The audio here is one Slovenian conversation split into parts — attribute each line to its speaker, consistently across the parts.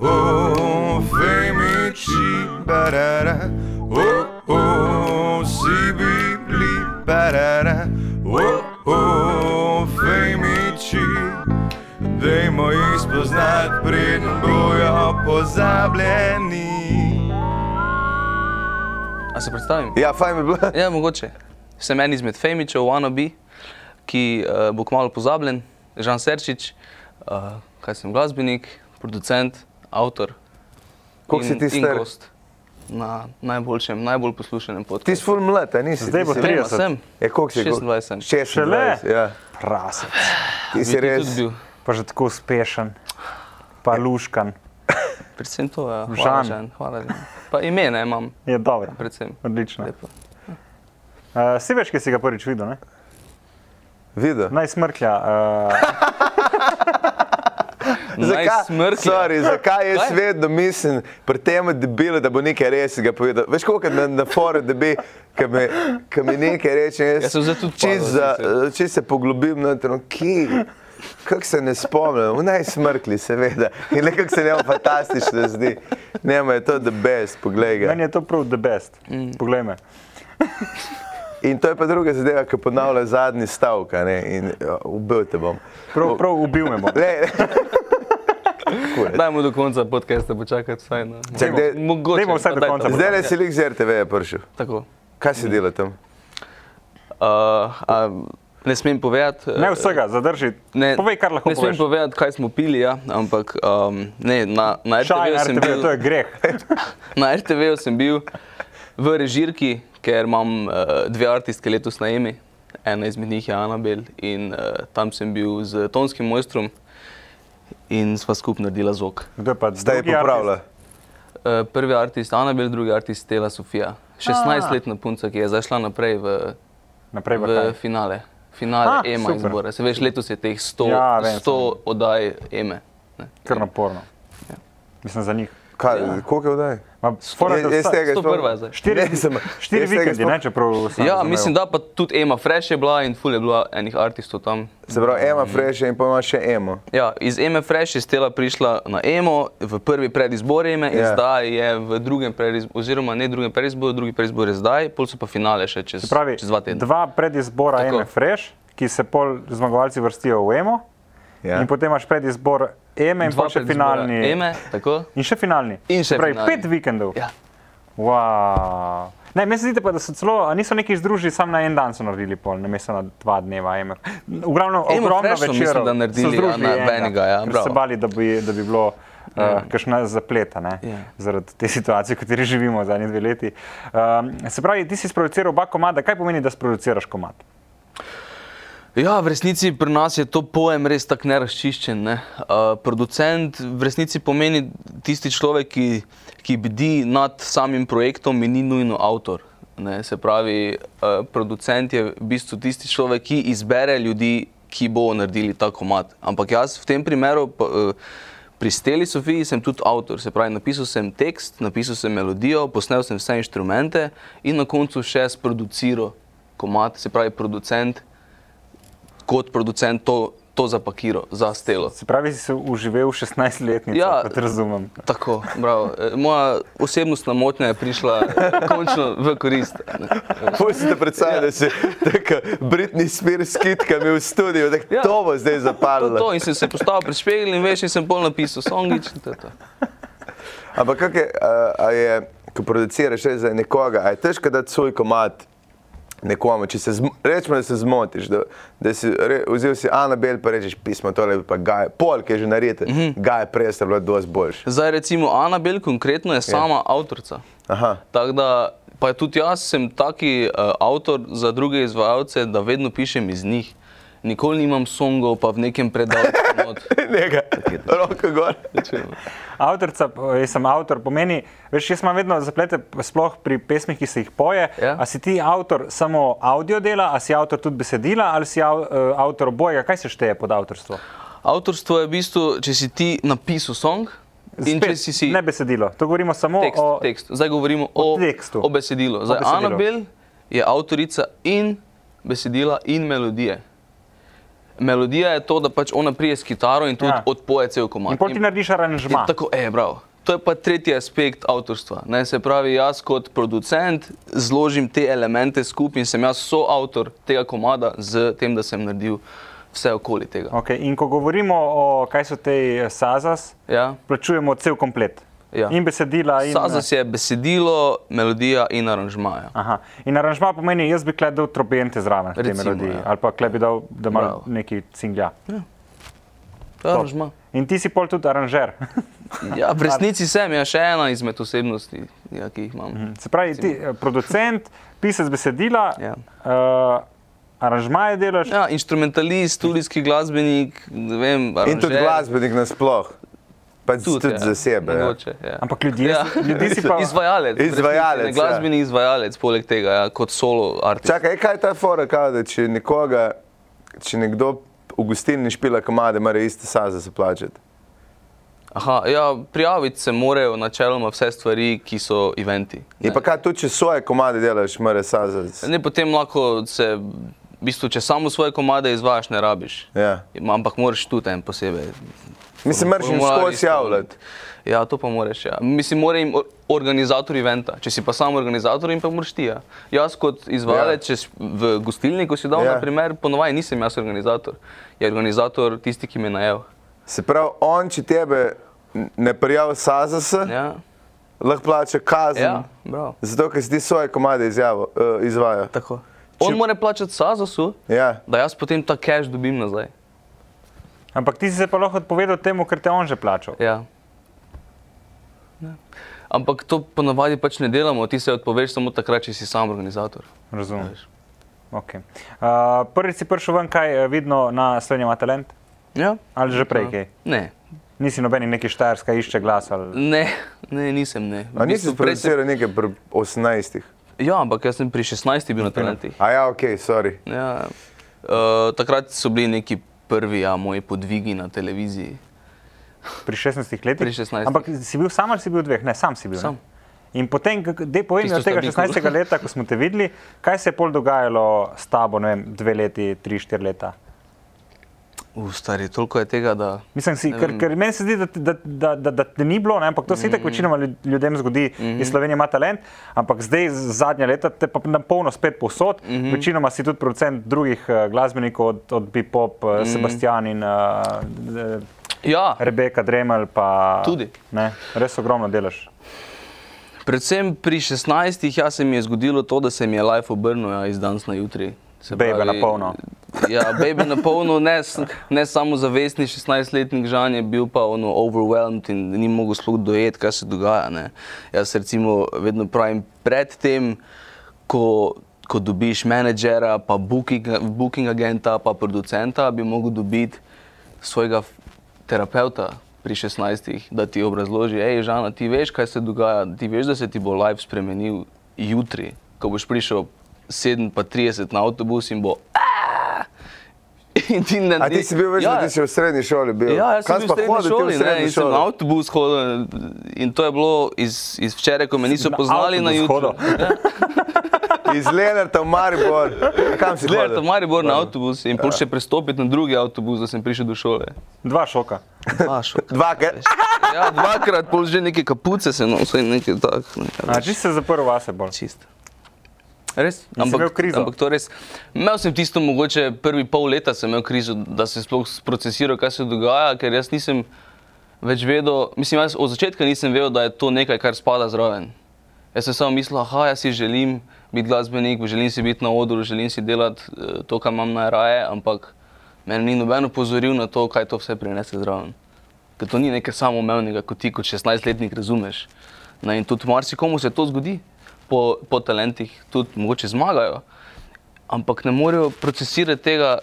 Speaker 1: oh, femici, barara, oh, oh, si bibli, barara, oh, oh, femici. Dajmo jih spoznati, preden bojo pozabljeni.
Speaker 2: A se predstavim?
Speaker 1: Ja, fajn bi bilo.
Speaker 2: Ja, mogoče. Sem en izmed Femičev, Wannabe, ki uh, bo kmalo pozabljen, Žan Serčič, uh, kaj sem glasbenik, producent, avtor.
Speaker 3: Koliko si
Speaker 2: in-
Speaker 3: ti
Speaker 2: in
Speaker 3: star?
Speaker 2: gost Na najboljšem, najbolj poslušenem
Speaker 3: Ti
Speaker 2: podkastu.
Speaker 3: si ful mlad, a nisi.
Speaker 4: Zdaj bo
Speaker 3: ti si-
Speaker 4: 30.
Speaker 2: sem.
Speaker 3: Ja, koliko si?
Speaker 2: 26 sem.
Speaker 3: 26.
Speaker 4: Šele?
Speaker 3: Ja.
Speaker 4: Prasec.
Speaker 3: Ti si res.
Speaker 2: bil.
Speaker 4: Pa že tako uspešen, pa luškan.
Speaker 2: Predvsem to, ja.
Speaker 4: Žan.
Speaker 2: Hvala, Žan. Hvala, Žan. Pa ime ne imam,
Speaker 4: Je dobro,
Speaker 2: predvsem.
Speaker 4: odlično.
Speaker 2: Lepo.
Speaker 4: Uh, si veš, ki si ga prvič videl, ne?
Speaker 3: Videl.
Speaker 4: Naj smrklja. Uh,
Speaker 2: Naj smrklja.
Speaker 3: sorry, zakaj jaz
Speaker 2: Kaj?
Speaker 3: vedno mislim pri tem debilu, da bo nekaj resnega povedal? Veš, koliko na, na foru debi, ki mi, ki mi nekaj reče, jaz,
Speaker 2: Jaz sem zdaj tudi
Speaker 3: čist,
Speaker 2: padel,
Speaker 3: za, eh,
Speaker 2: sicer.
Speaker 3: čist se poglobim na to, ki. Kako se ne spomnim, v najsmrkli, seveda. In le kako se njemu fantastično zdi. Njemu je to the best,
Speaker 2: Ja.
Speaker 3: poglej ga.
Speaker 4: meni je to prav the best. Mm. Poglej me.
Speaker 3: In to je pa druga zadeva, ki ponavlja zadnji stavek, a ne, in ja, ubil te bom.
Speaker 4: Prav, prav ubil me bo.
Speaker 3: Le,
Speaker 2: Dajmo do konca podcasta počakati vsaj na.
Speaker 3: Čak, daj-
Speaker 2: mogoče.
Speaker 4: dajmo vsaj
Speaker 2: pa
Speaker 4: do
Speaker 2: daj
Speaker 4: konca
Speaker 2: tam.
Speaker 3: zdaj le si lik z RTV je prišel.
Speaker 2: Tako.
Speaker 3: Kaj si dela tam?
Speaker 2: Uh, a, ne smem povedati.
Speaker 4: Ne
Speaker 2: eh,
Speaker 4: vsega, zadrži.
Speaker 2: Ne,
Speaker 4: Povej, kar lahko
Speaker 2: ne smem
Speaker 4: poveš.
Speaker 2: povedati, kaj smo pili, ja, ampak um, ne, na, na
Speaker 4: Šaj,
Speaker 2: RTV-ju sem,
Speaker 4: RTV, to je
Speaker 2: bil-
Speaker 4: greh.
Speaker 2: na RTV sem bil v režirki, ker imam uh, dve artistke letos na Emi, ena izmed njih je Anabel in uh, tam sem bil z tonskim mojstrom in sva skupaj naredila zvok.
Speaker 4: Kdo je pa
Speaker 3: Zdaj je
Speaker 4: drugi
Speaker 3: popravila.
Speaker 4: artist?
Speaker 2: Uh, prvi artist Anabel, drugi artist Tela Sofija, 16-letna punca, ki je zašla naprej v
Speaker 4: Naprej pa kaj.
Speaker 2: v finale. Finale
Speaker 4: Ah,
Speaker 2: ah, EMA
Speaker 4: super.
Speaker 2: izbora. Se veš, letos je teh 100,
Speaker 4: Ja,
Speaker 2: ja,
Speaker 4: vem,
Speaker 2: 100 oddaj EME. ne.
Speaker 4: Kar naporno. Mislim za njih.
Speaker 3: Kaj,
Speaker 2: Ja.
Speaker 3: koliko je vdaj?
Speaker 4: Ma, fora, da vsa-
Speaker 2: To
Speaker 3: sploh-
Speaker 2: prva je zdaj.
Speaker 4: Štiri,
Speaker 3: Ne, sem-
Speaker 4: štiri
Speaker 3: jaz tega
Speaker 4: vikendi,
Speaker 3: sploh-
Speaker 4: ne, čeprav sem
Speaker 2: Ja, mislim, da pa tudi EMA Fresh je bila in ful je bila enih artistov tam.
Speaker 3: Se pravi, ema fresh in pa imaš še emo.
Speaker 2: Ja, iz EME Fresh je Stela prišla na EMO v prvi predizbor EME in
Speaker 3: Ja.
Speaker 2: zdaj je v drugem predizboru, oziroma ne drugem predizboru, drugi predizbor je zdaj, pol so pa finale še čez,
Speaker 4: Pravi,
Speaker 2: čez dva tedna.
Speaker 4: dva predizbora
Speaker 2: Tako.
Speaker 4: Eme Fresh, ki se pol zmagovalci vrstijo v Emo, ja.
Speaker 3: Ja.
Speaker 4: in potem imaš predizbor Eme in pol še
Speaker 2: predizbora
Speaker 4: finalni.
Speaker 2: EME, tako?
Speaker 4: In še finalni.
Speaker 2: In še
Speaker 4: Se pravi,
Speaker 2: finalni.
Speaker 4: pet vikendov.
Speaker 2: Ja.
Speaker 4: Wow. Ne, meni se zdi, pa, da so celo, a niso neki združili, samo na en dan so naredili pol, ne mesto na dva dneva. EMF. V glavnem,
Speaker 2: Emo
Speaker 4: ogromno
Speaker 2: Fresh so, mislim,
Speaker 4: večerov
Speaker 2: da naredili,
Speaker 4: so
Speaker 2: ja,
Speaker 4: združili
Speaker 2: na-
Speaker 4: enega,
Speaker 2: v enega, ja,
Speaker 4: ker so se
Speaker 2: bravo.
Speaker 4: bali, da bi, da bi bilo uh, kakšna zapleta ne,
Speaker 2: Ja.
Speaker 4: zaradi te situacije, v kateri živimo zadnji dve leti. Um, se pravi, ti si sproduciral oba komada, kaj pomeni, da sproduciraš komad?
Speaker 2: Ja, v resnici pri nas je to pojem res tako nerazčiščen. Ne? Uh, producent v resnici pomeni tisti človek, ki, ki bdi nad samim projektom in ni nujno avtor. Ne? Se pravi, uh, producent je v bistvu tisti človek, ki izbere ljudi, ki bo naredili ta komat. Ampak jaz v tem primeru, pa, uh, pri Steli Sofiji sem tudi avtor, se pravi, napisal sem tekst, napisal sem melodijo, posnel sem vse inštrumente in na koncu še sproduciral komat, se pravi, producent kot producent to, to zapakiral za stelo.
Speaker 4: Se pravi, si se uživel 16-letnico,
Speaker 2: Ja.
Speaker 4: kot razumem.
Speaker 2: Tako, bravo. E, Moja osebnostna motnja je prišla končno v korist. ne.
Speaker 3: Poj
Speaker 2: Ja.
Speaker 3: si te predstavljati, da si tako Britney Spears kitka mi v studiu, tako
Speaker 2: Ja.
Speaker 3: to bo zdaj
Speaker 2: To,
Speaker 3: zapadlo.
Speaker 2: to, in sem se postavil pred špegel in veš, in sem bolj napisal songič. in to je to.
Speaker 3: Ampak kako je, a- a je, ko produciraš res za nekoga, a je težko dati svoj komat nekomu, če se, zm- rečemo, da se zmotiš, da, da si re, vzel si Anabel, pa rečeš pismo, tole je pa Gaj, pol, ki je že naredite, mm
Speaker 2: Mhm.
Speaker 3: -hmm. Gaj, prej sta bila dosti boljši.
Speaker 2: Zdaj, recimo, Anabel konkretno je sama yeah. avtorica.
Speaker 3: Aha.
Speaker 2: Tako da, pa tudi jaz sem taki uh, avtor za druge izvajalce, da vedno pišem iz njih. Nikoli nimam songov, pa v nekem predalcu. not.
Speaker 3: Nega, roko gor.
Speaker 4: Avtorica, eh, jaz sem avtor, pomeni, veš, jaz imam vedno zaplete, p- sploh pri pesmih, ki se jih poje.
Speaker 2: Ja.
Speaker 4: A si ti avtor samo audio dela, a si avtor tudi besedila, ali si av, eh, avtor obojega? Kaj se šteje pod avtorstvo?
Speaker 2: Avtorstvo je v bistvu, če si ti napisal song in če si si
Speaker 4: Ne besedilo, to govorimo samo
Speaker 2: tekst,
Speaker 4: o.
Speaker 2: tekst. Zdaj govorimo o,
Speaker 4: tekstu.
Speaker 2: o besedilu. Zdaj,
Speaker 4: besedilu.
Speaker 2: Anabel je avtorica in besedila in melodije. melodija je to, da pač ona prije s kitaro in tudi
Speaker 4: Ja.
Speaker 2: ja. odpoje cel komad.
Speaker 4: In pol ti narediš aranžma.
Speaker 2: In Tako, e, bravo. To je pa tretji aspekt avtorstva. Ne, se pravi, jaz kot producent zložim te elemente skupaj in sem jaz soavtor tega komada z tem, da sem naredil vse okoli tega.
Speaker 4: Okay. In ko govorimo o kaj so te eh, sazas,
Speaker 2: Ja?
Speaker 4: plačujemo cel komplet.
Speaker 2: Ja.
Speaker 4: In besedila, in
Speaker 2: Sazas je besedilo, melodija in aranžmaja.
Speaker 4: Aha. In aranžma pomeni, jaz bi kle dal trobente zraven k tej
Speaker 2: Recimo,
Speaker 4: melodiji,
Speaker 2: ja.
Speaker 4: ali pa kle bi dal, da malo
Speaker 2: Bravo.
Speaker 4: neki cinglja.
Speaker 2: To je aranžma.
Speaker 4: In ti si pol tudi aranžer.
Speaker 2: Ja, v resnici sem, ja, še ena izmed osebnosti, ja, ki jih imam.
Speaker 4: Se pravi, ti eh, producent, pisec besedila,
Speaker 2: Ja.
Speaker 4: uh, aranžmaje delaš.
Speaker 2: Ja, instrumentalist, tulijski glasbenik, ne vem,
Speaker 3: In tudi
Speaker 2: aranžer.
Speaker 3: glasbenik nasploh, pač
Speaker 2: Tudi,
Speaker 3: tudi
Speaker 2: ja,
Speaker 3: za sebe. ja.
Speaker 2: mogoče, Ja.
Speaker 4: Ampak ljudje si- ljudje si pa-
Speaker 2: Izvajalec. v resnici,
Speaker 3: Izvajalec,
Speaker 2: ne, Glasbeni ja. izvajalec, poleg tega, ja, kot solo artist.
Speaker 3: Čakaj, kaj je ta fora, kao, da če nekoga, če nekdo v gostilni špila komade, mora iste saze se plačati.
Speaker 2: Aha, ja, prijaviti se morajo načeloma vse stvari, ki so eventi.
Speaker 3: Je pa kaj tudi, če svoje komade delaš, mora saze. se-
Speaker 2: Ne, potem lahko se, v bistvu, če samo svoje komade izvajaš, ne rabiš.
Speaker 3: Ja.
Speaker 2: Ima- Ampak moraš tudi en posebej.
Speaker 3: Mislim, moraš jim
Speaker 2: formular
Speaker 3: skozi
Speaker 2: izpolniti.
Speaker 3: javljati.
Speaker 2: Ja, to pa moraš. Ja. Mislim, mora jim or- organizator eventa. Če si pa sam organizator, jim pa moraš ti. Ja. Jaz kot
Speaker 3: Ja.
Speaker 2: izvajalec, če s- v gostilniku si dal,
Speaker 3: Ja.
Speaker 2: ja. na primer, ponovaj nisem jaz organizator. Je organizator tisti, ki me najel.
Speaker 3: Se pravi, on, če tebe n- ne prijavi saze, se,
Speaker 2: Ja,
Speaker 3: lahko plača kazen.
Speaker 2: ja bravo.
Speaker 3: Zato, ker si ti svoje komade izjavo, uh, izvaja.
Speaker 2: Tako. On mora plačati Sazosu,
Speaker 3: Ja.
Speaker 2: da jaz potem ta cash dobim nazaj.
Speaker 4: Ampak ti si se pa lahko odpovedal temu, ker te je on že plačal.
Speaker 2: Ja. Ja. Ampak to ponavadi pač ne delamo, ti se odpoveš samo takrat, če si sam organizator.
Speaker 4: Razumem.
Speaker 2: Veš.
Speaker 4: Okay. Uh, prvič si prišel ven, kaj eh, vidno na Sloveniji ima talent,
Speaker 2: Ja?
Speaker 4: ali že prej kaj.
Speaker 2: Ne.
Speaker 4: Nisi nobeni neki štajerska išče glas. Ali...
Speaker 2: ne, ne, nisem. Ne. V
Speaker 3: A
Speaker 2: bistvu
Speaker 3: nisi
Speaker 2: prej sem-
Speaker 3: produciral nekaj pri 18.
Speaker 2: Ja, ampak jaz sem pri 16 bil na talentih.
Speaker 3: A ja, ok, sorry.
Speaker 2: Ja. Uh, takrat so bili neki prvi ja, moji podvigi na televiziji.
Speaker 4: Pri 16 letih.
Speaker 2: Pri 16.
Speaker 4: Ampak si bil sam ali si bil dveh? Ne, sam si bil. ne?
Speaker 2: Sam.
Speaker 4: In potem, da povem mi od
Speaker 2: Tisto
Speaker 4: tega
Speaker 2: sta bili
Speaker 4: 16.
Speaker 2: kul.
Speaker 4: leta, ko smo te videli, kaj se je pol dogajalo s tabo, ne vem, dve leti, tri, štiri leta.
Speaker 2: Uf, stari, toliko je tega, da.
Speaker 4: Mislim, si,
Speaker 2: Ne
Speaker 4: ker,
Speaker 2: vem. Mhm.
Speaker 4: ker meni se zdi, da, te- da, da, da, da te ni bilo, ne? ampak to se itek večinoma ljud- ljudem zgodi, mm -hmm. iz Slovenije ima talent, ampak zdaj z- zadnja leta te pa na polno spet posod, mm
Speaker 2: Mhm.
Speaker 4: -hmm. večinoma si tudi producent drugih uh, glasbenikov, od, od Bipop, mm -hmm.
Speaker 2: Mhm.
Speaker 4: Sebastian in uh,
Speaker 2: Ja,
Speaker 4: Rebeka Dremelj. pa-
Speaker 2: Tudi.
Speaker 4: Ne? Res ogromno delaš.
Speaker 2: Predvsem pri 16-ih ja, se mi je zgodilo to, da se mi je life obrnil ja, iz danes na jutri. Se
Speaker 4: Baby
Speaker 2: pravi-
Speaker 4: na polno.
Speaker 2: Ja, baby na polno, ne, s- ne samo zavestni 16-letnik žan je bil pa ono overwhelmed in ni mogel sploh dojeti, kaj se dogaja. Ne. Jaz recimo vedno pravim predtem, ko, ko dobiš menedžera, pa booking, booking agenta, pa producenta, bi mogel dobiti svojega f- terapeuta pri 16, da ti obrazloži, hej, Žana, ti veš, kaj se dogaja, ti veš, da se ti bo life spremenil jutri, ko boš prišel 7:30 na avtobus in bo. "Ah!" "Aah!" In ti ne
Speaker 3: A ti si bil več, ja. da ti si v srednji šoli bil.
Speaker 2: Ja, jaz sem
Speaker 3: Kam si
Speaker 2: bil
Speaker 3: pa
Speaker 2: v srednji
Speaker 3: hodil ti
Speaker 2: šoli,
Speaker 3: v
Speaker 2: ne,
Speaker 3: srednji
Speaker 2: in sem
Speaker 3: šoli?
Speaker 2: na avtobus hodil in to je bilo iz, iz včeraj, ko me niso
Speaker 4: na
Speaker 2: poznali na
Speaker 4: avtobus
Speaker 2: jutro.
Speaker 4: hodil?
Speaker 3: Iz Lenarta v Maribor. A Kam si
Speaker 2: Gledaj,
Speaker 3: hodil?
Speaker 2: tam Maribor na avtobus
Speaker 3: Ja.
Speaker 2: in pol še prestopiti na drugi avtobus, da sem prišel do šole.
Speaker 4: Dva šoka.
Speaker 2: Dva šoka.
Speaker 3: Dvakrat.
Speaker 2: Ja, dvakrat pol že neke kapuce se nosim, nekaj takega.
Speaker 4: A, če si se zaprl vase bolj.
Speaker 2: Čist. Res?
Speaker 4: si imel krizo?
Speaker 2: ampak to res. Imel sem tisto, mogoče prvi pol leta sem imel krizo, da sem sploh procesiral, kaj se dogaja, ker jaz nisem več vedel, mislim, jaz od začetka nisem vedel, da je to nekaj, kar spada zraven. Jaz sem samo mislil, aha, jaz si želim biti glasbenik, želim si biti na odru, želim si delati eh, to, kar imam najraje, ampak meni ni noben opozoril na to, kaj to vse prinese zraven. Ker to ni nekaj samoumevnega, kot ti kot 16-letnik razumeš. Ne, in tudi marsikomu se to zgodi, po, po talentih tudi mogoče zmagajo, ampak ne morejo procesirati tega,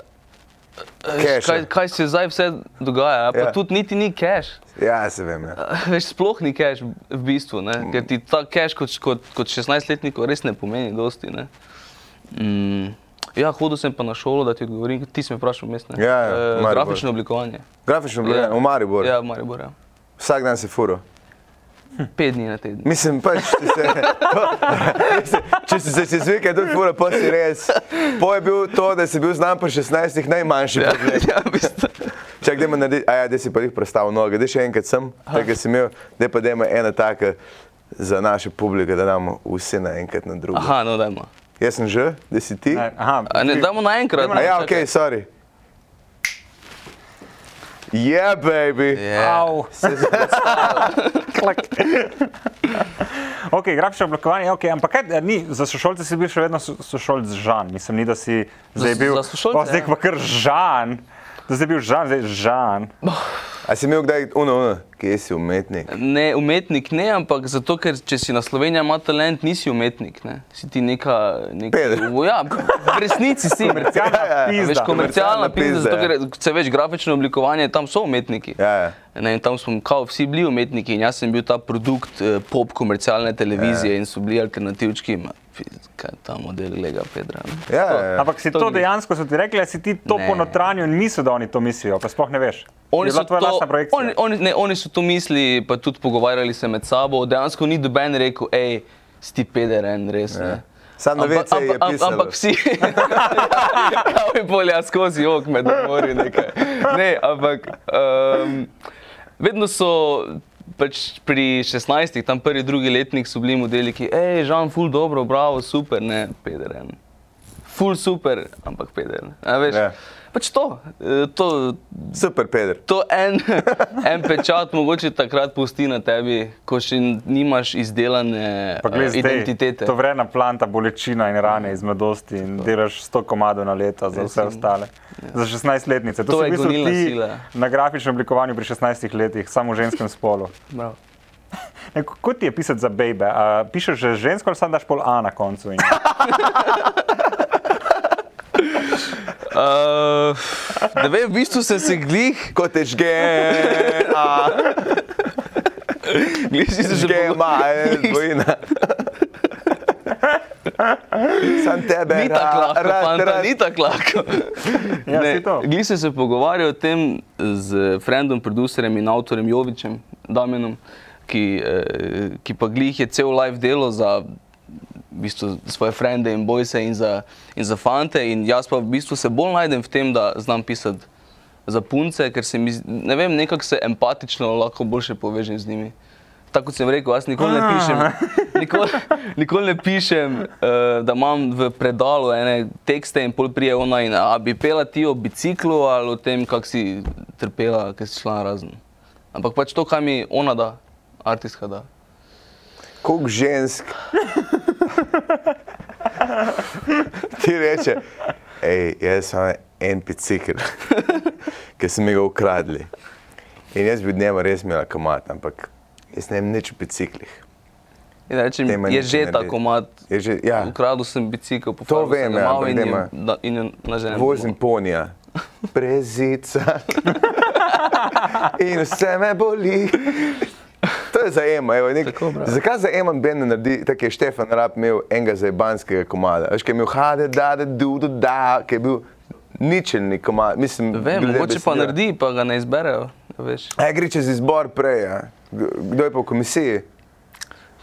Speaker 3: Cache-a.
Speaker 2: eh, kaj, kaj se zdaj vse dogaja. Pa
Speaker 3: Ja.
Speaker 2: yeah. tudi niti ni cash.
Speaker 3: Ja, se vem. Ja.
Speaker 2: Veš, sploh ni cash v bistvu, ne? ker ti ta cash kot, kot, kot 16-letnik res ne pomeni dosti. Ne? Mm. Ja, hodil sem pa na šolo, da ti odgovorim, ti si me vprašal, mestne.
Speaker 3: Ja, ja, Maribor.
Speaker 2: grafično oblikovanje.
Speaker 3: Grafično bilo je v Mariboru.
Speaker 2: Ja, v Mariboru. Ja.
Speaker 3: Vsak dan si furo.
Speaker 2: pet dni na teden.
Speaker 3: Mislim, pač, če, se, to, če si se čez vikend tudi fura, pa si res. Po je bil to, da si bil znan pri 16 najmanjši. Ja.
Speaker 2: Ja, v bistvu.
Speaker 3: Čak, da naredi, a ja, da si pa jih predstavil noge, da še enkrat sem, tega si imel, da pa da ima ena taka za naše publike, da damo vsi naenkrat na drugo.
Speaker 2: Aha, no dajmo.
Speaker 3: Jaz sem že, da si ti.
Speaker 4: Ne, Aha,
Speaker 2: A ne
Speaker 4: tri-
Speaker 2: damo naenkrat?
Speaker 3: A ja, ok, sorry. Yeah, baby.
Speaker 2: Yeah.
Speaker 4: Au. Klak. ok, grafično oblikovanje, ok, ampak kaj, ni, za sošolce si bil še vedno so- sošolc Žan, mislim, ni da si zdaj
Speaker 2: Za-
Speaker 4: bil.
Speaker 2: za sošolce,
Speaker 4: o, zdaj
Speaker 2: ja.
Speaker 4: pa kar Žan, da zdaj bil Žan, zdaj Žan.
Speaker 2: No,
Speaker 3: A si imel kdaj, uno, uno, kje si umetnik?
Speaker 2: Ne, umetnik ne, ampak zato, ker če si na Sloveniji ima talent, nisi umetnik. Ne? Si ti neka. neka
Speaker 3: Peder.
Speaker 2: ja, v resnici si.
Speaker 4: Komercialna
Speaker 3: ja,
Speaker 2: A Veš,
Speaker 4: pizda.
Speaker 2: komercialna
Speaker 3: Komercialna pizda,
Speaker 2: pizda, zato ker se veš, grafično oblikovanje, tam so umetniki.
Speaker 3: Ja, ja.
Speaker 2: Ne, in tam smo kao, vsi bili umetniki in jaz sem bil ta produkt eh, pop komercialne televizije ja. in so bili alternativčki. Ma, piz- Kaj je ta model, lega Pedra. ne.
Speaker 3: Ja, ja.
Speaker 4: Ampak si to,
Speaker 2: To
Speaker 4: to
Speaker 2: ni.
Speaker 4: dejansko so ti rekli, ali si ti to
Speaker 2: Ne.
Speaker 4: po notranju in misliš, da oni to mislijo, pa sploh ne veš. je bila tvoja lastna projekcija.
Speaker 2: oni, oni, ne, oni so to mislili, pa tudi pogovarjali se med sabo. Dejansko ni doben rekel, hej, si ti peder, en res. Ja.
Speaker 3: Sam na WC je pisalo.
Speaker 2: ampak vsi, kaj je polja skozi ok, med mori nekaj. Ne, ampak um, vedno so. Pač pri 16, tam prvi, drugi letnik so bili modeli, ki je, žal, ful dobro, bravo, super, ne, pederen. Ful super, ampak pederen. A veš?
Speaker 3: Ja.
Speaker 2: Pač to, eh, to,
Speaker 3: Super, Pedro.
Speaker 2: to en, en pečat mogoče takrat pusti na tebi, ko še nimaš izdelane
Speaker 4: Pa glej,
Speaker 2: eh,
Speaker 4: zdaj,
Speaker 2: identitete.
Speaker 4: To vrena planta, bolečina in rane iz mladosti in delaš 100 komadov na leto za vse ostale. Za 16-letnice. To,
Speaker 2: To je
Speaker 4: si v bistvu
Speaker 2: gonilna
Speaker 4: ti
Speaker 2: sila.
Speaker 4: Na grafičnem oblikovanju pri 16 letih, samo v ženskem spolu.
Speaker 2: Bravo.
Speaker 4: Ne, kako ti je pisati za bebe? A, pišeš že žensko ali samo daš pol A na koncu? In...
Speaker 2: Uh, ne vem, v bistvu sem se glih,
Speaker 3: Kot je žge,
Speaker 2: glih si se že
Speaker 3: žge,
Speaker 2: pogo-
Speaker 3: ima,
Speaker 4: eh,
Speaker 3: dvojina. Sam tebe,
Speaker 2: Ni tako lahko, fanta, ni tako lahko.
Speaker 4: Ja,
Speaker 2: Ne,
Speaker 4: saj to.
Speaker 2: Glih sem se pogovarjal o tem z friendom, producerjem in avtorjem Jovičem, Damienom, ki, eh, ki pa glih je cel live delo za v bistvu, svoje frende in bojce in za, in za fante. In jaz pa v bistvu se bolj najdem v tem, da znam pisati za punce, ker se mi, z- ne vem, nekako se empatično lahko boljše povežem z njimi. Tako kot sem rekel, jaz nikoli ne pišem, nikoli, nikoli ne pišem uh, da imam v predalu ene tekste in pol prije ona in a bi pela ti o biciklu ali o tem, kako si trpela, ker si šla na razen. Ampak pač to, kaj mi ona da, artistka da.
Speaker 3: Kolik žensk ti reče, hej, jaz sem en bicikl, ki sem mi ga ukradli. In jaz bi od njega res imel kamat, ampak jaz ne vem nič o biciklih.
Speaker 2: In rečem,
Speaker 3: Dajmo
Speaker 2: je
Speaker 3: nič
Speaker 2: že ta
Speaker 3: narediti.
Speaker 2: komat,
Speaker 3: Je že, ja,
Speaker 2: ukradel sem bicikl,
Speaker 3: To
Speaker 2: pofarbal
Speaker 3: vem,
Speaker 2: sem ga
Speaker 3: ja,
Speaker 2: malo
Speaker 3: ampak
Speaker 2: in, je,
Speaker 3: dajmo.
Speaker 2: da, in je naženem.
Speaker 3: vozim ponija, prezica. In vse me boli. To je zajema. Evo, nek,
Speaker 2: Tako, bravo.
Speaker 3: zakaj zajemam Ben ne naredi, tako je Štefan Rab imel enega zajbanskega komada? Veš, ki je imel hade, da, da, du, du, da, ki je bil ničelni komad. Mislim,
Speaker 2: Vem,
Speaker 3: glede
Speaker 2: mogoče pa
Speaker 3: besedila.
Speaker 2: naredi, pa ga ne izberejo. ja, Veš,
Speaker 3: A gre čez izbor prej, ja. kdo je pa v komisiji?